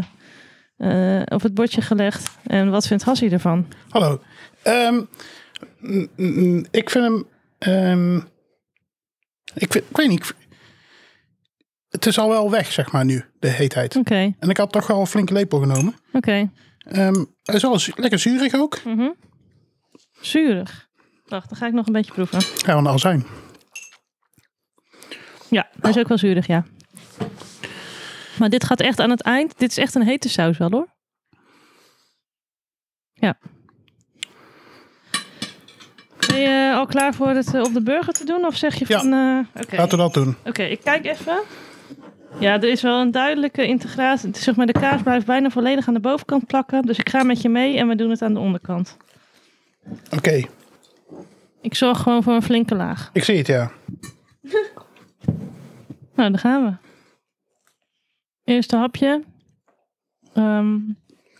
[SPEAKER 1] eh, op het bordje gelegd. En wat vindt Hassie ervan?
[SPEAKER 2] Hallo. Ehm, mm, mm, mm, ik vind hem. ehm, ik, vind- ik weet niet. ik vind- het is al wel weg, zeg maar nu, de heetheid.
[SPEAKER 1] Oké,
[SPEAKER 2] En ik had toch wel een flinke lepel genomen.
[SPEAKER 1] oké.
[SPEAKER 2] Ehm, hij is wel zu- lekker zuurig ook.
[SPEAKER 1] Mhm. Zuurig. Wacht, dan ga ik nog een beetje proeven.
[SPEAKER 2] Ja, want al nou zijn.
[SPEAKER 1] Ja, hij is ook wel zuurig, ja. Maar dit gaat echt aan het eind. Dit is echt een hete saus wel, hoor. Ja. Ben je al klaar voor het eh, op de burger te doen? Of zeg je
[SPEAKER 2] Ja.
[SPEAKER 1] van... eh, Oké.
[SPEAKER 2] Laten we dat doen.
[SPEAKER 1] Oké, ik kijk even. Ja, er is wel een duidelijke integratie. Het is Zeg maar, de kaas blijft bijna volledig aan de bovenkant plakken. Dus ik ga met je mee en we doen het aan de onderkant.
[SPEAKER 2] Oké,
[SPEAKER 1] Ik zorg gewoon voor een flinke laag.
[SPEAKER 2] ik zie het, ja.
[SPEAKER 1] Nou, daar gaan we. Eerste hapje. Ehm,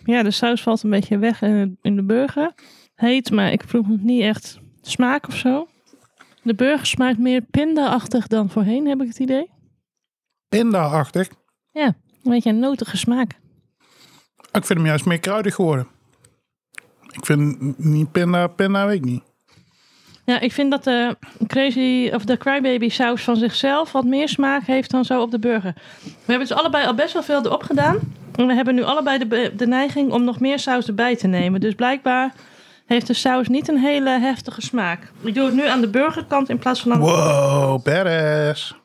[SPEAKER 1] ja, de saus valt een beetje weg in, het- in de burger. Heet, maar ik proef nog niet echt smaak of zo. De burger smaakt meer pinda-achtig dan voorheen, heb ik het idee.
[SPEAKER 2] Pinda-achtig.
[SPEAKER 1] Ja, een beetje een notige smaak.
[SPEAKER 2] Ik vind hem juist meer kruidig geworden. Ik vind n- niet pinda, pinda weet ik niet.
[SPEAKER 1] Ja, ik vind dat de crazy of de crybaby saus van zichzelf wat meer smaak heeft dan zo op de burger. We hebben dus allebei al best wel veel erop gedaan. En we hebben nu allebei de, be- de neiging om nog meer saus erbij te nemen. Dus blijkbaar heeft de saus niet een hele heftige smaak. Ik doe het nu aan de burgerkant in plaats van aan de...
[SPEAKER 2] Wow, badass.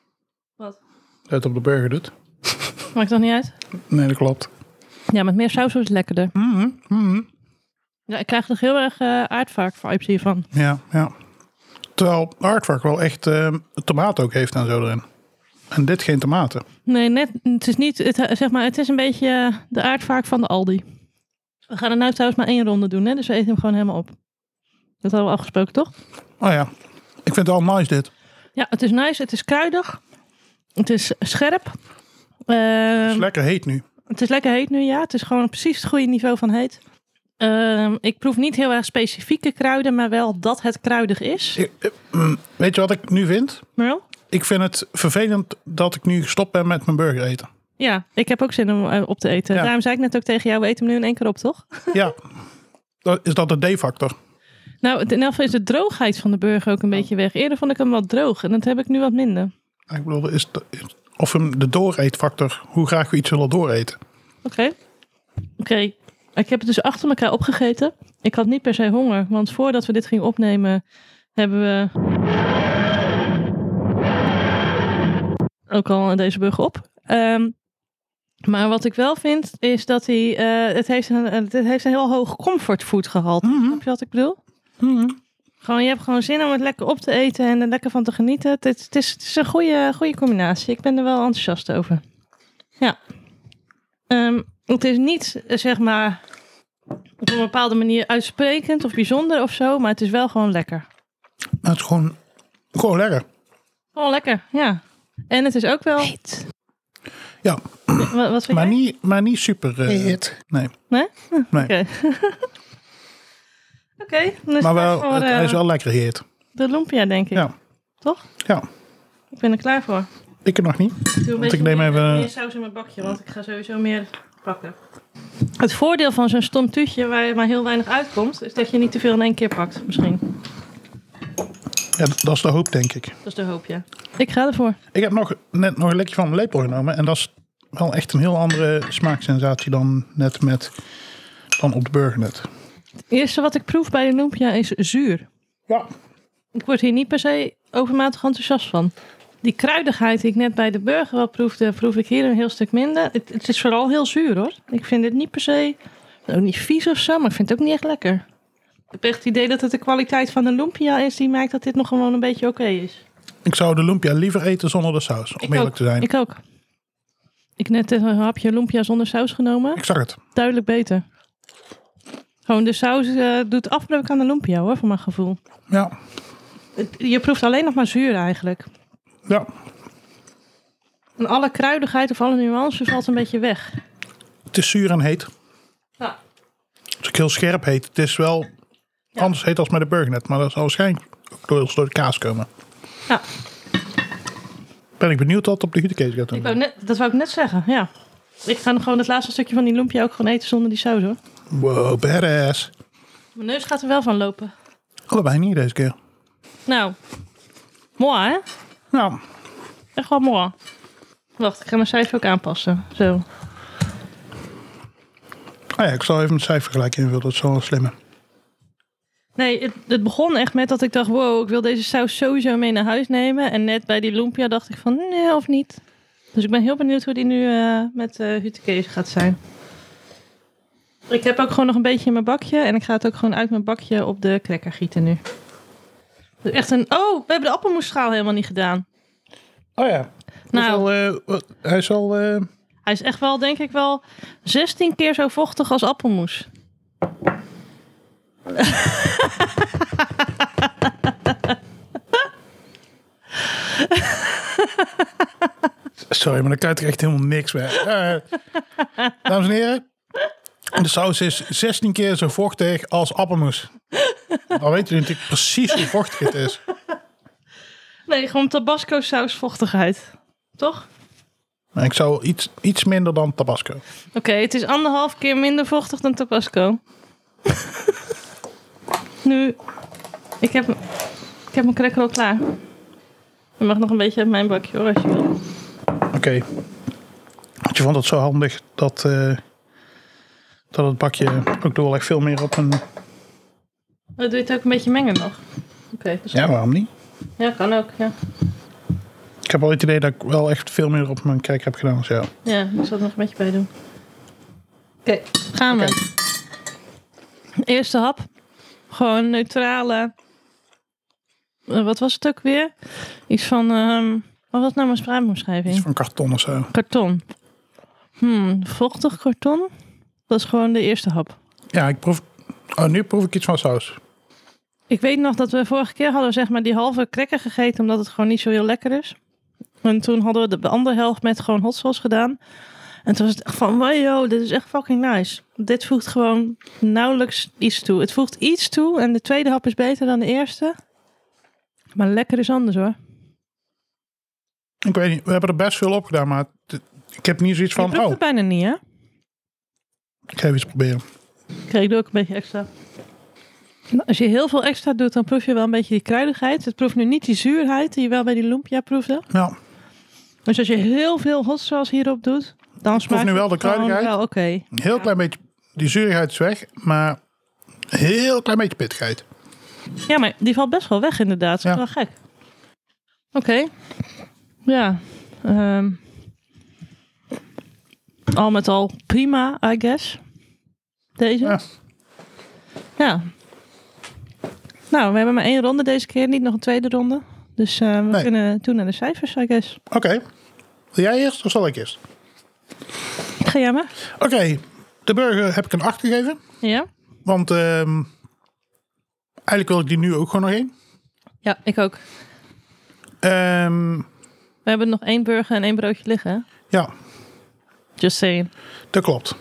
[SPEAKER 1] Wat?
[SPEAKER 2] Het op de burger doet.
[SPEAKER 1] Maakt dat niet uit?
[SPEAKER 2] Nee, dat klopt.
[SPEAKER 1] Ja, met meer saus wordt het lekkerder.
[SPEAKER 2] Mhm, mhm.
[SPEAKER 1] Ja, ik krijg toch heel erg eh aardvark-vibes hiervan.
[SPEAKER 2] Ja, ja. Terwijl Artwork wel echt eh, tomaat ook heeft en zo erin. En dit geen tomaten.
[SPEAKER 1] Nee, net, het is niet, het, zeg maar, het is een beetje eh, de aardvark van de Aldi. We gaan er nou trouwens maar één ronde doen, hè? dus we eten hem gewoon helemaal op. Dat hadden we afgesproken, toch?
[SPEAKER 2] Oh ja, ik vind het wel nice dit.
[SPEAKER 1] Ja, het is nice, het is kruidig, het is scherp. Ehm,
[SPEAKER 2] Het is lekker heet nu.
[SPEAKER 1] het is lekker heet nu, ja. Het is gewoon precies het goede niveau van heet. Ehm, ik proef niet heel erg specifieke kruiden, maar wel dat het kruidig is.
[SPEAKER 2] Ik- eh, mm, Weet je wat ik nu vind?
[SPEAKER 1] Merel?
[SPEAKER 2] Ik vind het vervelend dat ik nu gestopt ben met mijn burger eten.
[SPEAKER 1] Ja, ik heb ook zin om eh, op te eten.
[SPEAKER 2] Ja.
[SPEAKER 1] Daarom zei ik net ook tegen jou, we eten hem nu in één keer op, toch?
[SPEAKER 2] Ja, dat, is dat de D-factor?
[SPEAKER 1] Nou, het- in elk geval is de droogheid van de burger ook een beetje weg. Eerder vond ik hem wat droog en dat heb ik nu wat minder.
[SPEAKER 2] Ik bedoel, is de, is- of hem de dooreetfactor, hoe graag we iets willen dooreten.
[SPEAKER 1] Oké. Oké. Ik heb het dus achter elkaar opgegeten. Ik had niet per se honger, want voordat we dit gingen opnemen hebben we... Ook al deze burger op. Ehm, maar wat ik wel vind is dat hij... eh, het, heeft een, het heeft een heel hoog comfortfood gehalte. Snap je wat ik bedoel?
[SPEAKER 2] Mhm.
[SPEAKER 1] Gewoon, je hebt gewoon zin om het lekker op te eten en er lekker van te genieten. Het, het is, het is een goede, goede combinatie. Ik ben er wel enthousiast over. Ja. Ehm, het is niet, eh, zeg maar, op een bepaalde manier uitsprekend of bijzonder of zo. Maar het is wel gewoon lekker.
[SPEAKER 2] Maar het is gewoon, gewoon lekker.
[SPEAKER 1] Gewoon lekker, ja. En het is ook wel...
[SPEAKER 2] Ja,
[SPEAKER 1] Wa- Wat, vind
[SPEAKER 2] maar
[SPEAKER 1] jij?
[SPEAKER 2] niet, maar niet super. eh, nee.
[SPEAKER 1] Nee? Hm,
[SPEAKER 2] Nee.
[SPEAKER 1] Oké. Oké, dan is
[SPEAKER 2] Maar
[SPEAKER 1] het
[SPEAKER 2] wel,
[SPEAKER 1] voor
[SPEAKER 2] het, hij
[SPEAKER 1] eh,
[SPEAKER 2] is wel lekker heet.
[SPEAKER 1] de lumpia, denk ik.
[SPEAKER 2] Ja.
[SPEAKER 1] Toch?
[SPEAKER 2] Ja,
[SPEAKER 1] Ik ben er klaar voor.
[SPEAKER 2] ik nog niet.
[SPEAKER 1] Ik doe een
[SPEAKER 2] Want
[SPEAKER 1] beetje
[SPEAKER 2] ik neem
[SPEAKER 1] meer,
[SPEAKER 2] even-
[SPEAKER 1] meer saus in mijn bakje, want ik ga sowieso meer pakken. Het voordeel van zo'n stom tuutje waar maar heel weinig uitkomt, is dat je niet te veel in één keer pakt, misschien.
[SPEAKER 2] Ja, dat dat is de hoop, denk ik.
[SPEAKER 1] Dat is de hoop, ja. Ik ga ervoor.
[SPEAKER 2] Ik heb nog, net nog een lekje van mijn lepel genomen. En dat is wel echt een heel andere smaaksensatie dan net met dan op de burgernet.
[SPEAKER 1] Het eerste wat ik proef bij de lumpia is zuur.
[SPEAKER 2] Ja.
[SPEAKER 1] Ik word hier niet per se overmatig enthousiast van. Die kruidigheid die ik net bij de burger wel proefde, proef ik hier een heel stuk minder. Het, het is vooral heel zuur hoor. Ik vind het niet per se, ook niet vies of zo, maar ik vind het ook niet echt lekker. Ik heb echt het idee dat het de kwaliteit van de lumpia is die maakt dat dit nog gewoon een beetje oké is.
[SPEAKER 2] Ik zou de lumpia liever eten zonder de saus, om eerlijk
[SPEAKER 1] ook.
[SPEAKER 2] te zijn. Ik,
[SPEAKER 1] Ik ook. Ik net een hapje lumpia zonder saus genomen.
[SPEAKER 2] zag het.
[SPEAKER 1] Duidelijk beter. Gewoon de saus eh, doet afbreuk aan de lumpia hoor, voor mijn gevoel.
[SPEAKER 2] Ja.
[SPEAKER 1] Het- Je proeft alleen nog maar zuur eigenlijk.
[SPEAKER 2] Ja.
[SPEAKER 1] En alle kruidigheid of alle nuance valt een beetje weg.
[SPEAKER 2] Het is zuur en heet.
[SPEAKER 1] Ja.
[SPEAKER 2] Het is ook heel scherp heet. Het is wel anders heet als met de burgernet. Maar dat zal waarschijnlijk ook door, door de kaas komen.
[SPEAKER 1] Ja.
[SPEAKER 2] Ben ik benieuwd wat op de hutekees gaat
[SPEAKER 1] Ik
[SPEAKER 2] doen.
[SPEAKER 1] wou net, dat wou ik net zeggen, ja. Ik ga nog gewoon het laatste stukje van die lumpia ook gewoon eten zonder die saus hoor.
[SPEAKER 2] Wow, badass.
[SPEAKER 1] Mijn neus gaat er wel van lopen.
[SPEAKER 2] Allebei niet deze keer.
[SPEAKER 1] Nou, mooi hè?
[SPEAKER 2] Nou,
[SPEAKER 1] Echt wel mooi. Wacht, ik ga mijn cijfer ook aanpassen. Zo.
[SPEAKER 2] ah ja, ik zal even het cijfer gelijk invullen. Dat is wel een slimme.
[SPEAKER 1] Nee, het, het begon echt met dat ik dacht, wow, ik wil deze saus sowieso mee naar huis nemen. En net bij die lumpia dacht ik van, nee of niet. Dus ik ben heel benieuwd hoe die nu eh, met eh Hutekees gaat zijn. Ik heb ook gewoon nog een beetje in mijn bakje. En ik ga het ook gewoon uit mijn bakje op de cracker gieten nu. Dus Echt een, oh, we hebben de appelmoesschaal helemaal niet gedaan.
[SPEAKER 2] Oh ja.
[SPEAKER 1] Nou.
[SPEAKER 2] Nou. hij is al. eh,
[SPEAKER 1] Hij is echt wel, denk ik wel, 16 keer zo vochtig als appelmoes.
[SPEAKER 2] sorry, maar dan kan je er echt helemaal niks mee. Eh, dames en heren. De saus is 16 keer zo vochtig als appelmoes. Dan weten jullie natuurlijk precies hoe vochtig het is.
[SPEAKER 1] Nee, gewoon tabasco saus vochtigheid. Toch?
[SPEAKER 2] Maar ik zou iets, iets minder dan tabasco.
[SPEAKER 1] Oké, het is anderhalf keer minder vochtig dan Tabasco. nu, ik heb, ik heb mijn cracker al klaar. Je mag nog een beetje uit mijn bakje hoor, als je wil. Oh,
[SPEAKER 2] Oké. Want je vond het zo handig dat, eh, dat het bakje ook door wel echt veel meer op een
[SPEAKER 1] Oh, doe je het ook een beetje mengen nog? Oké, dus- ja.
[SPEAKER 2] Ja, waarom niet?
[SPEAKER 1] kan ook. Ja.
[SPEAKER 2] Ik heb wel het idee dat ik wel echt veel meer op mijn kijk heb gedaan dus als jou.
[SPEAKER 1] ja, ik zal er nog een beetje bij doen. Oké, gaan we. Eerste hap. Gewoon neutrale. eh, wat was het ook weer? Iets van. ehm, wat was nou mijn
[SPEAKER 2] Iets
[SPEAKER 1] spraakbeschrijving?
[SPEAKER 2] van karton of zo.
[SPEAKER 1] Karton. Hmm, vochtig karton. Dat is gewoon de eerste hap.
[SPEAKER 2] Ja, ik proef... Oh, nu proef ik iets van saus.
[SPEAKER 1] Ik weet nog dat we vorige keer hadden we zeg maar die halve cracker gegeten omdat het gewoon niet zo heel lekker is. En toen hadden we de andere helft met gewoon hot sauce gedaan. En toen was het echt van, wow, yo, dit is echt fucking nice. Dit voegt gewoon nauwelijks iets toe. Het voegt iets toe en de tweede hap is beter dan de eerste. Maar lekker is anders hoor.
[SPEAKER 2] Ik weet niet, we hebben er best veel op gedaan, maar het- ik heb niet zoiets
[SPEAKER 1] Je
[SPEAKER 2] van...
[SPEAKER 1] proeft
[SPEAKER 2] Oh,
[SPEAKER 1] het bijna niet hè?
[SPEAKER 2] ik ga even iets proberen.
[SPEAKER 1] Oké, ik doe ook een beetje extra. Nou, Als je heel veel extra doet, dan proef je wel een beetje die kruidigheid. Het proeft nu niet die zuurheid die je wel bij die lumpia proefde.
[SPEAKER 2] Nou,
[SPEAKER 1] Dus als je heel veel hot sauce hierop doet, dan smaakt
[SPEAKER 2] nu
[SPEAKER 1] het
[SPEAKER 2] wel de
[SPEAKER 1] gewoon
[SPEAKER 2] kruidigheid.
[SPEAKER 1] wel oké.
[SPEAKER 2] een heel klein beetje... Die zuurigheid is weg, maar een heel klein beetje pittigheid.
[SPEAKER 1] Ja, maar die valt best wel weg inderdaad. Dat is
[SPEAKER 2] Ja.
[SPEAKER 1] wel gek. Oké. Ja. ehm, al met al prima, I guess. Deze.
[SPEAKER 2] Ja.
[SPEAKER 1] Ja. Nou, we hebben maar één ronde deze keer. Niet nog een tweede ronde. Dus eh, we
[SPEAKER 2] Nee.
[SPEAKER 1] kunnen toe naar de cijfers, I guess.
[SPEAKER 2] Oké. Wil jij eerst of zal ik eerst?
[SPEAKER 1] Ga jij maar.
[SPEAKER 2] Oké, de burger heb ik een 8 gegeven.
[SPEAKER 1] Ja?
[SPEAKER 2] Want ehm, eigenlijk wil ik die nu ook gewoon nog één.
[SPEAKER 1] Ja, ik ook.
[SPEAKER 2] Ehm,
[SPEAKER 1] We hebben nog één burger en één broodje liggen. hè?
[SPEAKER 2] ja,
[SPEAKER 1] Just saying.
[SPEAKER 2] dat klopt.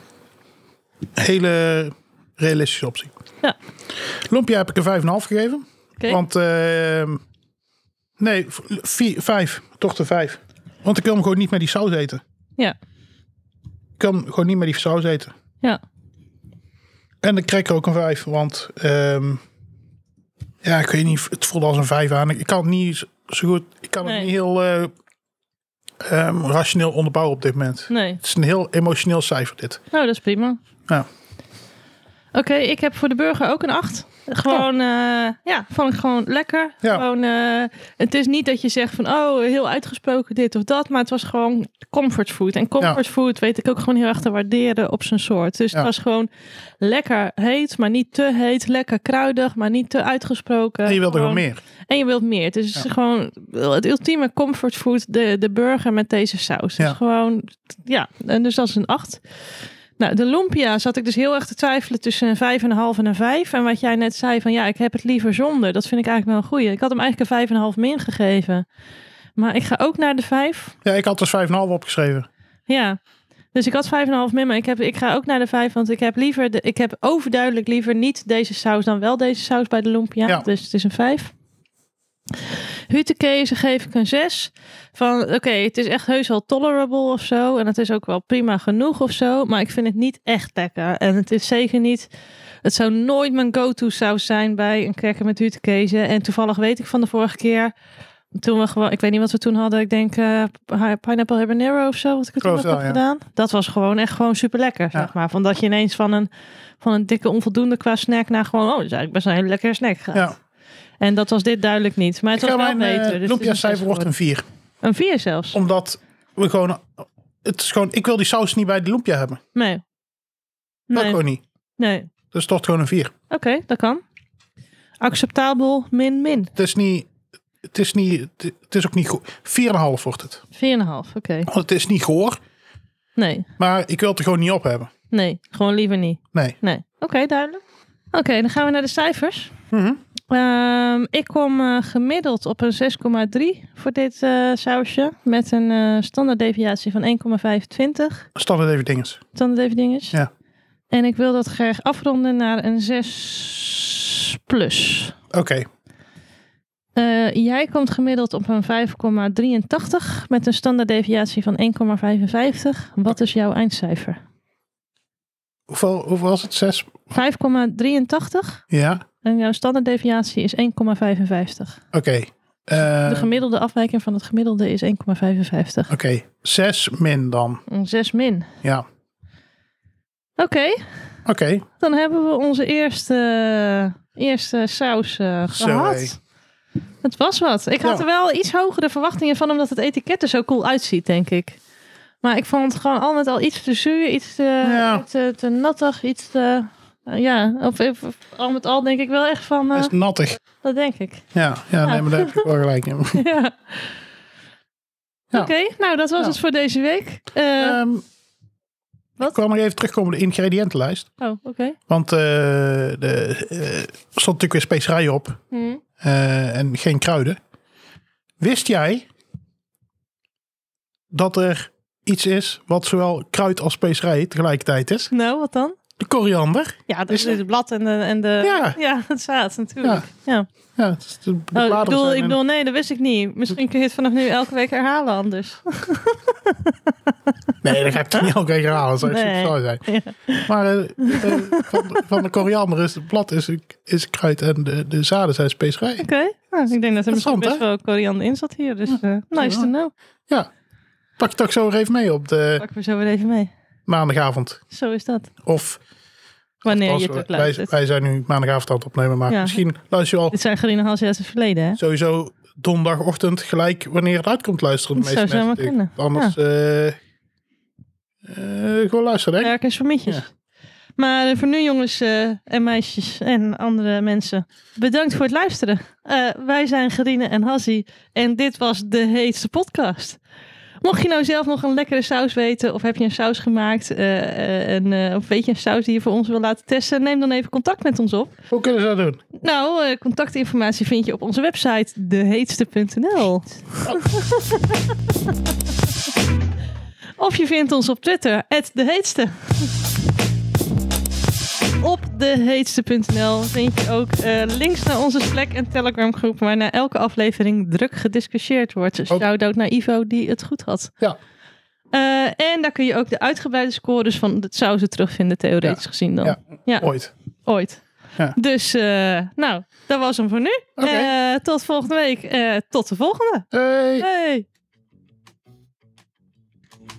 [SPEAKER 2] Hele realistische optie.
[SPEAKER 1] Ja.
[SPEAKER 2] Lumpia heb ik een 5,5 gegeven.
[SPEAKER 1] Oké.
[SPEAKER 2] Want, ehm, nee, 5. Toch de 5. Want ik wil hem gewoon niet met die saus eten.
[SPEAKER 1] Ja.
[SPEAKER 2] Ik wil hem gewoon niet met die saus eten.
[SPEAKER 1] Ja.
[SPEAKER 2] En dan kreeg ik er ook een 5, want ehm, ja, ik weet niet, het voelde als een 5 aan. Ik kan het niet zo goed, ik kan
[SPEAKER 1] Nee.
[SPEAKER 2] het niet heel eh, ehm, rationeel onderbouwen op dit moment.
[SPEAKER 1] Nee.
[SPEAKER 2] Het is een heel emotioneel cijfer dit.
[SPEAKER 1] Nou, dat is prima.
[SPEAKER 2] Ja.
[SPEAKER 1] Oké, ik heb voor de burger ook een 8. Gewoon, eh, ja, vond ik gewoon lekker.
[SPEAKER 2] Ja.
[SPEAKER 1] Gewoon, eh, het is niet dat je zegt van, oh, heel uitgesproken dit of dat. Maar het was gewoon comfortfood. En comfortfood weet ik ook gewoon heel erg te waarderen op zijn soort. Dus
[SPEAKER 2] Ja.
[SPEAKER 1] het was gewoon lekker heet, maar niet te heet. Lekker kruidig, maar niet te uitgesproken.
[SPEAKER 2] en je wilde gewoon
[SPEAKER 1] Gewoon-
[SPEAKER 2] meer.
[SPEAKER 1] en je wilt meer. Het is
[SPEAKER 2] Ja.
[SPEAKER 1] gewoon het ultieme comfortfood, de, de burger met deze saus.
[SPEAKER 2] Ja.
[SPEAKER 1] Het is gewoon, ja, en dus dat is een 8. Nou, de lumpia zat ik dus heel erg te twijfelen tussen een 5,5 en een 5. En wat jij net zei van ja, ik heb het liever zonder. Dat vind ik eigenlijk wel een goeie. Ik had hem eigenlijk een 5,5 min gegeven. Maar ik ga ook naar de 5.
[SPEAKER 2] Ja, ik had dus 5,5 opgeschreven.
[SPEAKER 1] Ja. Dus ik had 5,5 min, maar ik, heb, ik ga ook naar de 5. Want ik heb liever, de, ik heb overduidelijk liever niet deze saus dan wel deze saus bij de Lumpia.
[SPEAKER 2] Ja.
[SPEAKER 1] Dus het is een 5. Hutekezen geef ik een 6. Van oké, het is echt heus wel tolerable of zo. En het is ook wel prima genoeg of zo. Maar ik vind het niet echt lekker. En het is zeker niet. Het zou nooit mijn go-to saus zijn bij een cracker met hutekezen. En toevallig weet ik van de vorige keer. Toen we gewoon, ik weet niet wat we toen hadden. Ik denk eh, pi- pineapple habanero of zo. Wat ik er toen nog
[SPEAKER 2] Geloof
[SPEAKER 1] heb
[SPEAKER 2] wel, ja.
[SPEAKER 1] gedaan. Dat was gewoon echt gewoon super lekker.
[SPEAKER 2] Ja.
[SPEAKER 1] Zeg maar. Van dat je ineens van een, van een dikke onvoldoende qua snack naar gewoon. Oh, dat is eigenlijk best wel een hele lekkere snack. gaat.
[SPEAKER 2] Ja.
[SPEAKER 1] En dat was dit duidelijk niet. Maar het
[SPEAKER 2] Ik ga
[SPEAKER 1] was wel
[SPEAKER 2] mijn eh,
[SPEAKER 1] beter. dus het is
[SPEAKER 2] lumpia
[SPEAKER 1] een
[SPEAKER 2] cijfer
[SPEAKER 1] zes
[SPEAKER 2] wordt een
[SPEAKER 1] geworden.
[SPEAKER 2] 4.
[SPEAKER 1] Een 4 zelfs.
[SPEAKER 2] Omdat we gewoon, het is gewoon, ik wil die saus niet bij de lumpia hebben.
[SPEAKER 1] Nee.
[SPEAKER 2] Dat
[SPEAKER 1] Nee.
[SPEAKER 2] gewoon niet.
[SPEAKER 1] nee.
[SPEAKER 2] Dus toch gewoon een 4.
[SPEAKER 1] Oké, dat kan. Acceptabel min min. 4,5.
[SPEAKER 2] Het is niet, het is niet, het is ook niet goed. 4,5 wordt het.
[SPEAKER 1] Oké.
[SPEAKER 2] Want het is niet goor,
[SPEAKER 1] Nee.
[SPEAKER 2] maar ik wil het er gewoon niet op hebben.
[SPEAKER 1] Nee. Gewoon liever niet.
[SPEAKER 2] Nee.
[SPEAKER 1] Nee. Oké, duidelijk. Oké, dan gaan we naar de cijfers.
[SPEAKER 2] Mhm.
[SPEAKER 1] Ehm, ik kom eh, gemiddeld op een 6,3 voor dit eh, sausje. Met een eh standaarddeviatie van 1,25.
[SPEAKER 2] Standaard even dinges.
[SPEAKER 1] Standaard even dinges.
[SPEAKER 2] Ja.
[SPEAKER 1] En ik wil dat graag afronden naar een 6 plus.
[SPEAKER 2] Oké,
[SPEAKER 1] Eh, jij komt gemiddeld op een 5,83 met een standaarddeviatie van 1,55. Wat is jouw eindcijfer?
[SPEAKER 2] hoeveel, hoeveel was het? Zes?
[SPEAKER 1] 5,83
[SPEAKER 2] Ja,
[SPEAKER 1] en jouw standaarddeviatie is 1,55.
[SPEAKER 2] oké. Eh,
[SPEAKER 1] De gemiddelde afwijking van het gemiddelde is 1,55.
[SPEAKER 2] oké, zes min dan.
[SPEAKER 1] Een 6 min.
[SPEAKER 2] Ja,
[SPEAKER 1] Oké,
[SPEAKER 2] oké. Oké,
[SPEAKER 1] Dan hebben we onze eerste, eerste saus eh,
[SPEAKER 2] Zo,
[SPEAKER 1] gehad.
[SPEAKER 2] hé.
[SPEAKER 1] Het was wat. Ik had
[SPEAKER 2] Ja.
[SPEAKER 1] er wel iets hogere verwachtingen van, omdat het etiket er zo cool uitziet, denk ik. Maar ik vond het gewoon al met al iets te zuur, iets te,
[SPEAKER 2] Ja.
[SPEAKER 1] te, te nattig, iets te... eh, ja, of, of- of al met al denk ik wel echt van... eh,
[SPEAKER 2] dat is nattig.
[SPEAKER 1] dat denk ik.
[SPEAKER 2] Ja, ja, nee, maar daar heb je wel gelijk in.
[SPEAKER 1] ja.
[SPEAKER 2] Ja.
[SPEAKER 1] Oké, nou dat was
[SPEAKER 2] Ja.
[SPEAKER 1] het voor deze week. Eh,
[SPEAKER 2] Ehm,
[SPEAKER 1] wat?
[SPEAKER 2] Ik kwam nog even terugkomen op de ingrediëntenlijst.
[SPEAKER 1] oh, oké.
[SPEAKER 2] Want eh, de, eh, er stond natuurlijk weer specerijen op.
[SPEAKER 1] Hm.
[SPEAKER 2] eh, en geen kruiden. Wist jij dat er iets is wat zowel kruid als specerij tegelijkertijd is?
[SPEAKER 1] Nou, wat dan?
[SPEAKER 2] De koriander.
[SPEAKER 1] Ja, dat
[SPEAKER 2] Is
[SPEAKER 1] is
[SPEAKER 2] er-
[SPEAKER 1] het blad en de, en de...
[SPEAKER 2] Ja.
[SPEAKER 1] het zaad natuurlijk. Ja.
[SPEAKER 2] Ja, het is de, de
[SPEAKER 1] Oh, ik,
[SPEAKER 2] bladeren
[SPEAKER 1] bedoel,
[SPEAKER 2] zijn
[SPEAKER 1] ik
[SPEAKER 2] een-
[SPEAKER 1] bedoel, nee, dat wist ik niet. Misschien kun je het vanaf nu elke week herhalen anders.
[SPEAKER 2] Nee, dat ga ik toch niet elke keer herhalen. Dat zou echt
[SPEAKER 1] Nee.
[SPEAKER 2] zo zijn. Maar eh, eh, van, van de koriander is het blad is, is kruid en de, de zaden zijn specerij.
[SPEAKER 1] Oké, nou, ik denk dat er misschien
[SPEAKER 2] Interessant,
[SPEAKER 1] best
[SPEAKER 2] hè?
[SPEAKER 1] wel koriander in zat hier. Dus eh, nice
[SPEAKER 2] Ja.
[SPEAKER 1] to know.
[SPEAKER 2] Pak het toch zo weer even mee op de
[SPEAKER 1] Pak me zo weer even mee.
[SPEAKER 2] maandagavond.
[SPEAKER 1] Zo is dat.
[SPEAKER 2] Of
[SPEAKER 1] Wanneer
[SPEAKER 2] als
[SPEAKER 1] je
[SPEAKER 2] we-
[SPEAKER 1] het ook
[SPEAKER 2] wij,
[SPEAKER 1] luistert.
[SPEAKER 2] wij zijn nu maandagavond aan het opnemen, maar
[SPEAKER 1] Ja.
[SPEAKER 2] misschien luister je al
[SPEAKER 1] Dit zijn Gerine Hals uit het verleden, hè?
[SPEAKER 2] sowieso donderdagochtend gelijk wanneer het uitkomt luisteren. De
[SPEAKER 1] Dat
[SPEAKER 2] meeste
[SPEAKER 1] zou
[SPEAKER 2] mensen
[SPEAKER 1] zomaar
[SPEAKER 2] natuurlijk. Anders eh, eh, gewoon luisteren, hè?
[SPEAKER 1] Werkers voor mietjes.
[SPEAKER 2] Ja.
[SPEAKER 1] Maar eh, voor nu, jongens eh, en meisjes en andere mensen, bedankt voor het luisteren. Eh, wij zijn Gerine en Hassie en dit was de heetste podcast. Mocht je nou zelf nog een lekkere saus weten, of heb je een saus gemaakt, eh, eh, en, eh, of weet je een saus die je voor ons wil laten testen, neem dan even contact met ons op.
[SPEAKER 2] Hoe kunnen ze dat doen?
[SPEAKER 1] Nou, eh, contactinformatie vind je op onze website deheetste.nl. of je vindt ons op Twitter, deheetste. Op deheetste.nl vind je ook eh, links naar onze Slack en Telegram groep, waar na elke aflevering druk gediscussieerd wordt. Dus Shout-out naar Ivo die het goed had.
[SPEAKER 2] Ja.
[SPEAKER 1] Eh, en daar kun je ook de uitgebreide scores van het sausen terugvinden, theoretisch gezien dan.
[SPEAKER 2] Ja.
[SPEAKER 1] ja.
[SPEAKER 2] Ooit.
[SPEAKER 1] Ooit.
[SPEAKER 2] Ja.
[SPEAKER 1] Dus, eh, nou, dat was hem voor nu.
[SPEAKER 2] Oké.
[SPEAKER 1] Eh, tot volgende week. Eh, tot de volgende.
[SPEAKER 2] Hey.
[SPEAKER 1] Hey.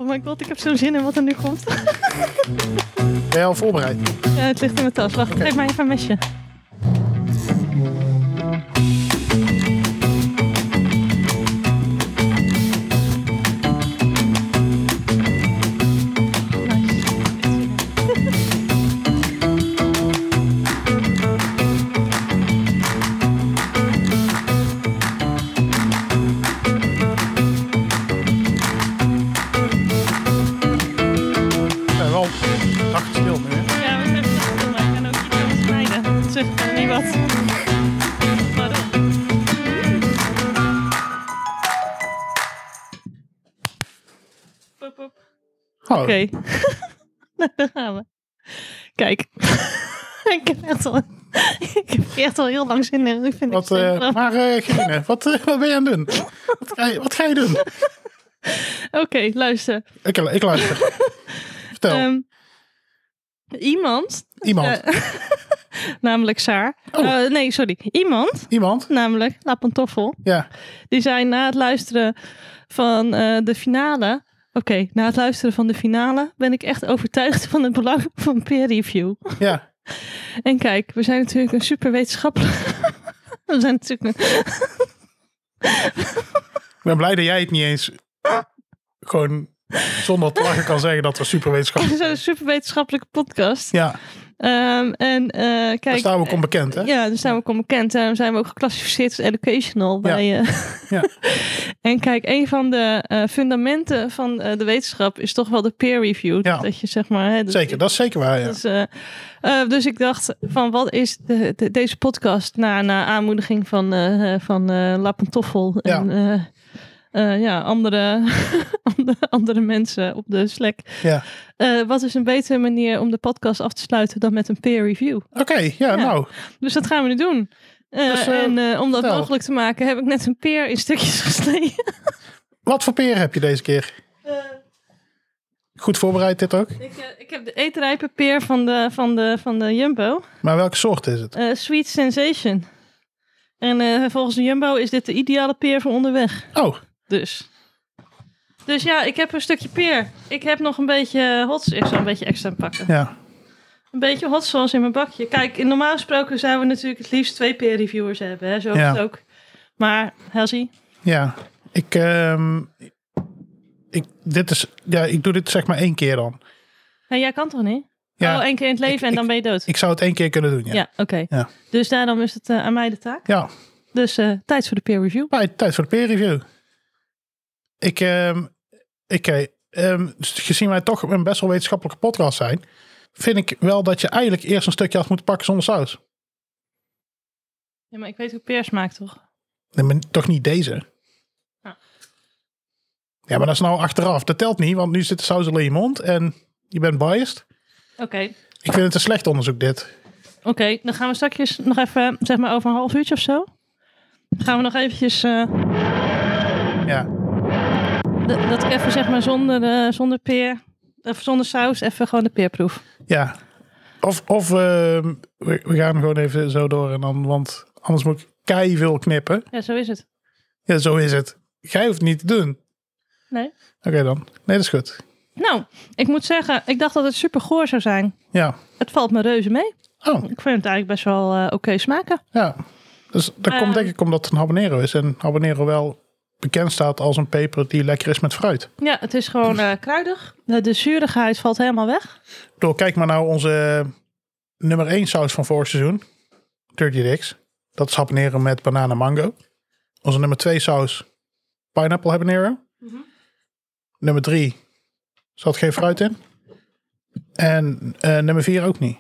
[SPEAKER 1] Oh mijn god, ik heb zo'n zin in wat er nu komt.
[SPEAKER 2] Ben je al voorbereid?
[SPEAKER 1] Ja, het ligt in mijn tas. Wacht, geef mij even een mesje. Nice.
[SPEAKER 2] We zijn wel zacht stil nu, hè?
[SPEAKER 1] Ja, we zijn veel maar ik kan ook iets aan het snijden. Dat zegt mij niet wat. Maar dan. Pop, pop.
[SPEAKER 2] Oh,
[SPEAKER 1] Oké. nou, daar gaan we. Kijk. ik, heb echt al, ik heb echt al heel lang zin in. Ik vind
[SPEAKER 2] Wat,
[SPEAKER 1] het
[SPEAKER 2] eh,
[SPEAKER 1] zo grappig.
[SPEAKER 2] maar eh Gerine, wat, eh, wat ben je aan het doen? Wat ga je, wat ga je doen?
[SPEAKER 1] Oké, luister.
[SPEAKER 2] Ik, ik luister. Vertel,
[SPEAKER 1] Ehm, iemand,
[SPEAKER 2] iemand.
[SPEAKER 1] eh, namelijk Saar.
[SPEAKER 2] Oh.
[SPEAKER 1] Eh, nee, sorry. Iemand,
[SPEAKER 2] iemand?
[SPEAKER 1] namelijk La Pantoffel.
[SPEAKER 2] Ja.
[SPEAKER 1] Die zei na het luisteren van eh, de finale. Oké, na het luisteren van de finale ben ik echt overtuigd van het belang van peer review.
[SPEAKER 2] Ja.
[SPEAKER 1] En kijk, we zijn natuurlijk een super wetenschappelijk. We zijn natuurlijk een-
[SPEAKER 2] Ik ben blij dat jij het niet eens gewoon zonder te lachen kan zeggen dat we superwetenschap
[SPEAKER 1] we zijn een super wetenschappelijke podcast.
[SPEAKER 2] Ja,
[SPEAKER 1] Ehm, en eh,
[SPEAKER 2] daar
[SPEAKER 1] kijk.
[SPEAKER 2] staan we ook onbekend, hè?
[SPEAKER 1] Ja, dus zijn we ook onbekend. Daarom zijn we ook geclassificeerd als educational. Bij, eh.
[SPEAKER 2] Ja.
[SPEAKER 1] en kijk, een van de eh, fundamenten van eh, de wetenschap is toch wel de peer review.
[SPEAKER 2] Ja.
[SPEAKER 1] Dat je zeg maar. Hè, dat-
[SPEAKER 2] Zeker, dat is zeker waar, ja.
[SPEAKER 1] Dus, eh, eh, dus ik dacht van wat is de, de- deze podcast na, na aanmoediging van, eh eh, van eh La Pantoffel en eh, eh, ja, andere, andere, andere mensen op de Slack.
[SPEAKER 2] ja.
[SPEAKER 1] Eh, wat is een betere manier om de podcast af te sluiten dan met een peer review?
[SPEAKER 2] Oké, ja, nou.
[SPEAKER 1] Dus dat gaan we nu doen. Eh,
[SPEAKER 2] Dus, eh,
[SPEAKER 1] en eh, om dat
[SPEAKER 2] vertel.
[SPEAKER 1] mogelijk te maken heb ik net een peer in stukjes gesneden.
[SPEAKER 2] Wat voor peer heb je deze keer?
[SPEAKER 1] Eh,
[SPEAKER 2] Goed voorbereid dit ook.
[SPEAKER 1] ik, eh, ik heb de eetrijpe peer van de, van de, van de Jumbo.
[SPEAKER 2] Maar welke soort is het?
[SPEAKER 1] Eh, Sweet Sensation. En eh, volgens de Jumbo is dit de ideale peer voor onderweg.
[SPEAKER 2] Oh,
[SPEAKER 1] Dus. eh, Dus ja, ik heb een stukje peer. Ik heb nog een beetje hots. Ik zal een beetje extra pakken.
[SPEAKER 2] ja.
[SPEAKER 1] Een beetje hot sauce in mijn bakje. Kijk, in normaal gesproken zouden we natuurlijk het liefst twee peer reviewers hebben. Hè? Zo is
[SPEAKER 2] Ja.
[SPEAKER 1] het ook. Maar, Helsie,
[SPEAKER 2] Ja, ik, ehm, ik, dit is, ja, ik doe dit zeg maar één keer dan.
[SPEAKER 1] nou, jij kan toch niet?
[SPEAKER 2] Ja,
[SPEAKER 1] oh, één keer in het leven
[SPEAKER 2] ik-
[SPEAKER 1] en dan ben je dood.
[SPEAKER 2] Ik zou het één keer kunnen doen, ja.
[SPEAKER 1] ja,
[SPEAKER 2] Ja,
[SPEAKER 1] oké.
[SPEAKER 2] Ja.
[SPEAKER 1] Dus daarom is het eh, aan mij de taak. Dus eh, tijd voor de peer review.
[SPEAKER 2] maar tijd voor de peer review. Ik, ehm, ik, eh, ehm, gezien wij toch een best wel wetenschappelijke podcast zijn, vind ik wel dat je eigenlijk eerst een stukje af moet pakken zonder saus.
[SPEAKER 1] Ja, maar ik weet hoe peer smaakt, toch?
[SPEAKER 2] Nee, maar toch niet deze.
[SPEAKER 1] Ah.
[SPEAKER 2] Ja, maar dat is nou achteraf. Dat telt niet, want nu zit de saus al in je mond en je bent biased.
[SPEAKER 1] Oké,
[SPEAKER 2] Ik vind het een slecht onderzoek, dit.
[SPEAKER 1] oké. Dan gaan we straks nog even, zeg maar over een half uurtje of zo. Dan gaan we nog eventjes... eh,
[SPEAKER 2] Ja,
[SPEAKER 1] Dat, dat ik even zeg maar zonder, eh, zonder peer, of zonder saus, even gewoon de peerproef.
[SPEAKER 2] ja. Of, of ehm, we, we gaan gewoon even zo door en dan, want anders moet ik kei veel knippen.
[SPEAKER 1] Ja, zo is het.
[SPEAKER 2] Ja, zo is het. Jij hoeft het niet te doen. Oké
[SPEAKER 1] Nee.
[SPEAKER 2] dan. Nee, dat is goed.
[SPEAKER 1] Nou, ik moet zeggen, ik dacht dat het super goor zou zijn.
[SPEAKER 2] Ja.
[SPEAKER 1] Het valt me reuze mee.
[SPEAKER 2] Oh,
[SPEAKER 1] Ik vind het eigenlijk best wel eh, oké smaken.
[SPEAKER 2] ja. Dus dat
[SPEAKER 1] Ehm.
[SPEAKER 2] komt denk ik omdat het een habanero is. En habanero wel bekend staat als een peper die lekker is met fruit.
[SPEAKER 1] Ja, het is gewoon eh, kruidig. De, de zuurigheid valt helemaal weg.
[SPEAKER 2] Ik bedoel, kijk maar nou onze nummer 1 saus van vorig seizoen. Dirty Dicks. Dat is habanero met banaan en mango. Onze nummer 2 saus, pineapple habanero. Nummer 3 zat geen fruit in. En eh, nummer 4 ook niet.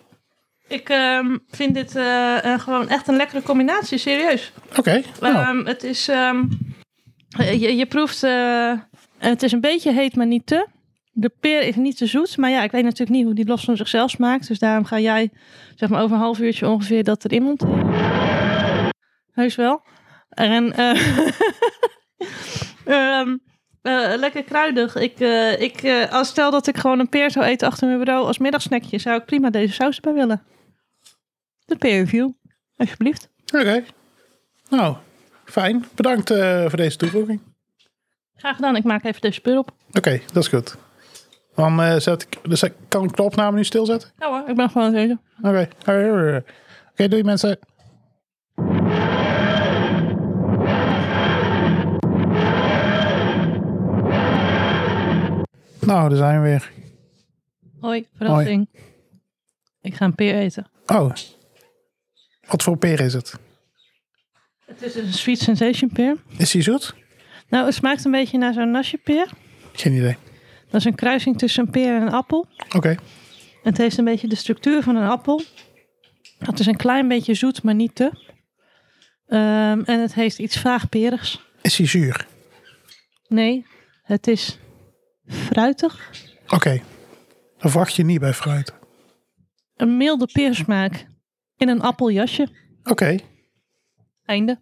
[SPEAKER 1] Ik ehm, vind dit eh, eh, gewoon echt een lekkere combinatie, serieus.
[SPEAKER 2] Oké, nou,
[SPEAKER 1] Ehm, het is, ehm, eh, je, je proeft, eh, het is een beetje heet, maar niet te. De peer is niet te zoet, maar ja, ik weet natuurlijk niet hoe die los van zichzelf smaakt. Dus daarom ga jij, zeg maar, over een half uurtje ongeveer dat erin monteren. Heus wel. En, eh, ehm, eh, lekker kruidig. Ik, eh, ik, eh, als stel dat ik gewoon een peer zou eten achter mijn bureau als middagsnackje, zou ik prima deze saus erbij willen. De peer review, alsjeblieft.
[SPEAKER 2] oké. Nou, fijn. Bedankt eh, voor deze toevoeging.
[SPEAKER 1] Graag gedaan, ik maak even deze spul op.
[SPEAKER 2] Oké, dat is goed. Dan eh, zet ik, dus ik- kan ik de opname nu stilzetten?
[SPEAKER 1] Nou hoor, ik ben gewoon aan het eten.
[SPEAKER 2] Oké, oké, doei mensen. Nou, daar zijn we weer.
[SPEAKER 1] Hoi, verrassing. Ik ga een peer eten.
[SPEAKER 2] Oh, wat voor peer is het?
[SPEAKER 1] Het is een sweet sensation peer.
[SPEAKER 2] Is die zoet?
[SPEAKER 1] Nou, het smaakt een beetje naar zo'n nasje peer.
[SPEAKER 2] Geen idee.
[SPEAKER 1] Dat is een kruising tussen een peer en een appel.
[SPEAKER 2] Oké,
[SPEAKER 1] Het heeft een beetje de structuur van een appel. Het is een klein beetje zoet, maar niet te. Ehm, en het heeft iets vaag perigs.
[SPEAKER 2] is die zuur?
[SPEAKER 1] Nee, het is fruitig.
[SPEAKER 2] Oké, dat verwacht je niet bij fruit.
[SPEAKER 1] Een milde peersmaak in een appeljasje.
[SPEAKER 2] Oké,
[SPEAKER 1] Einde.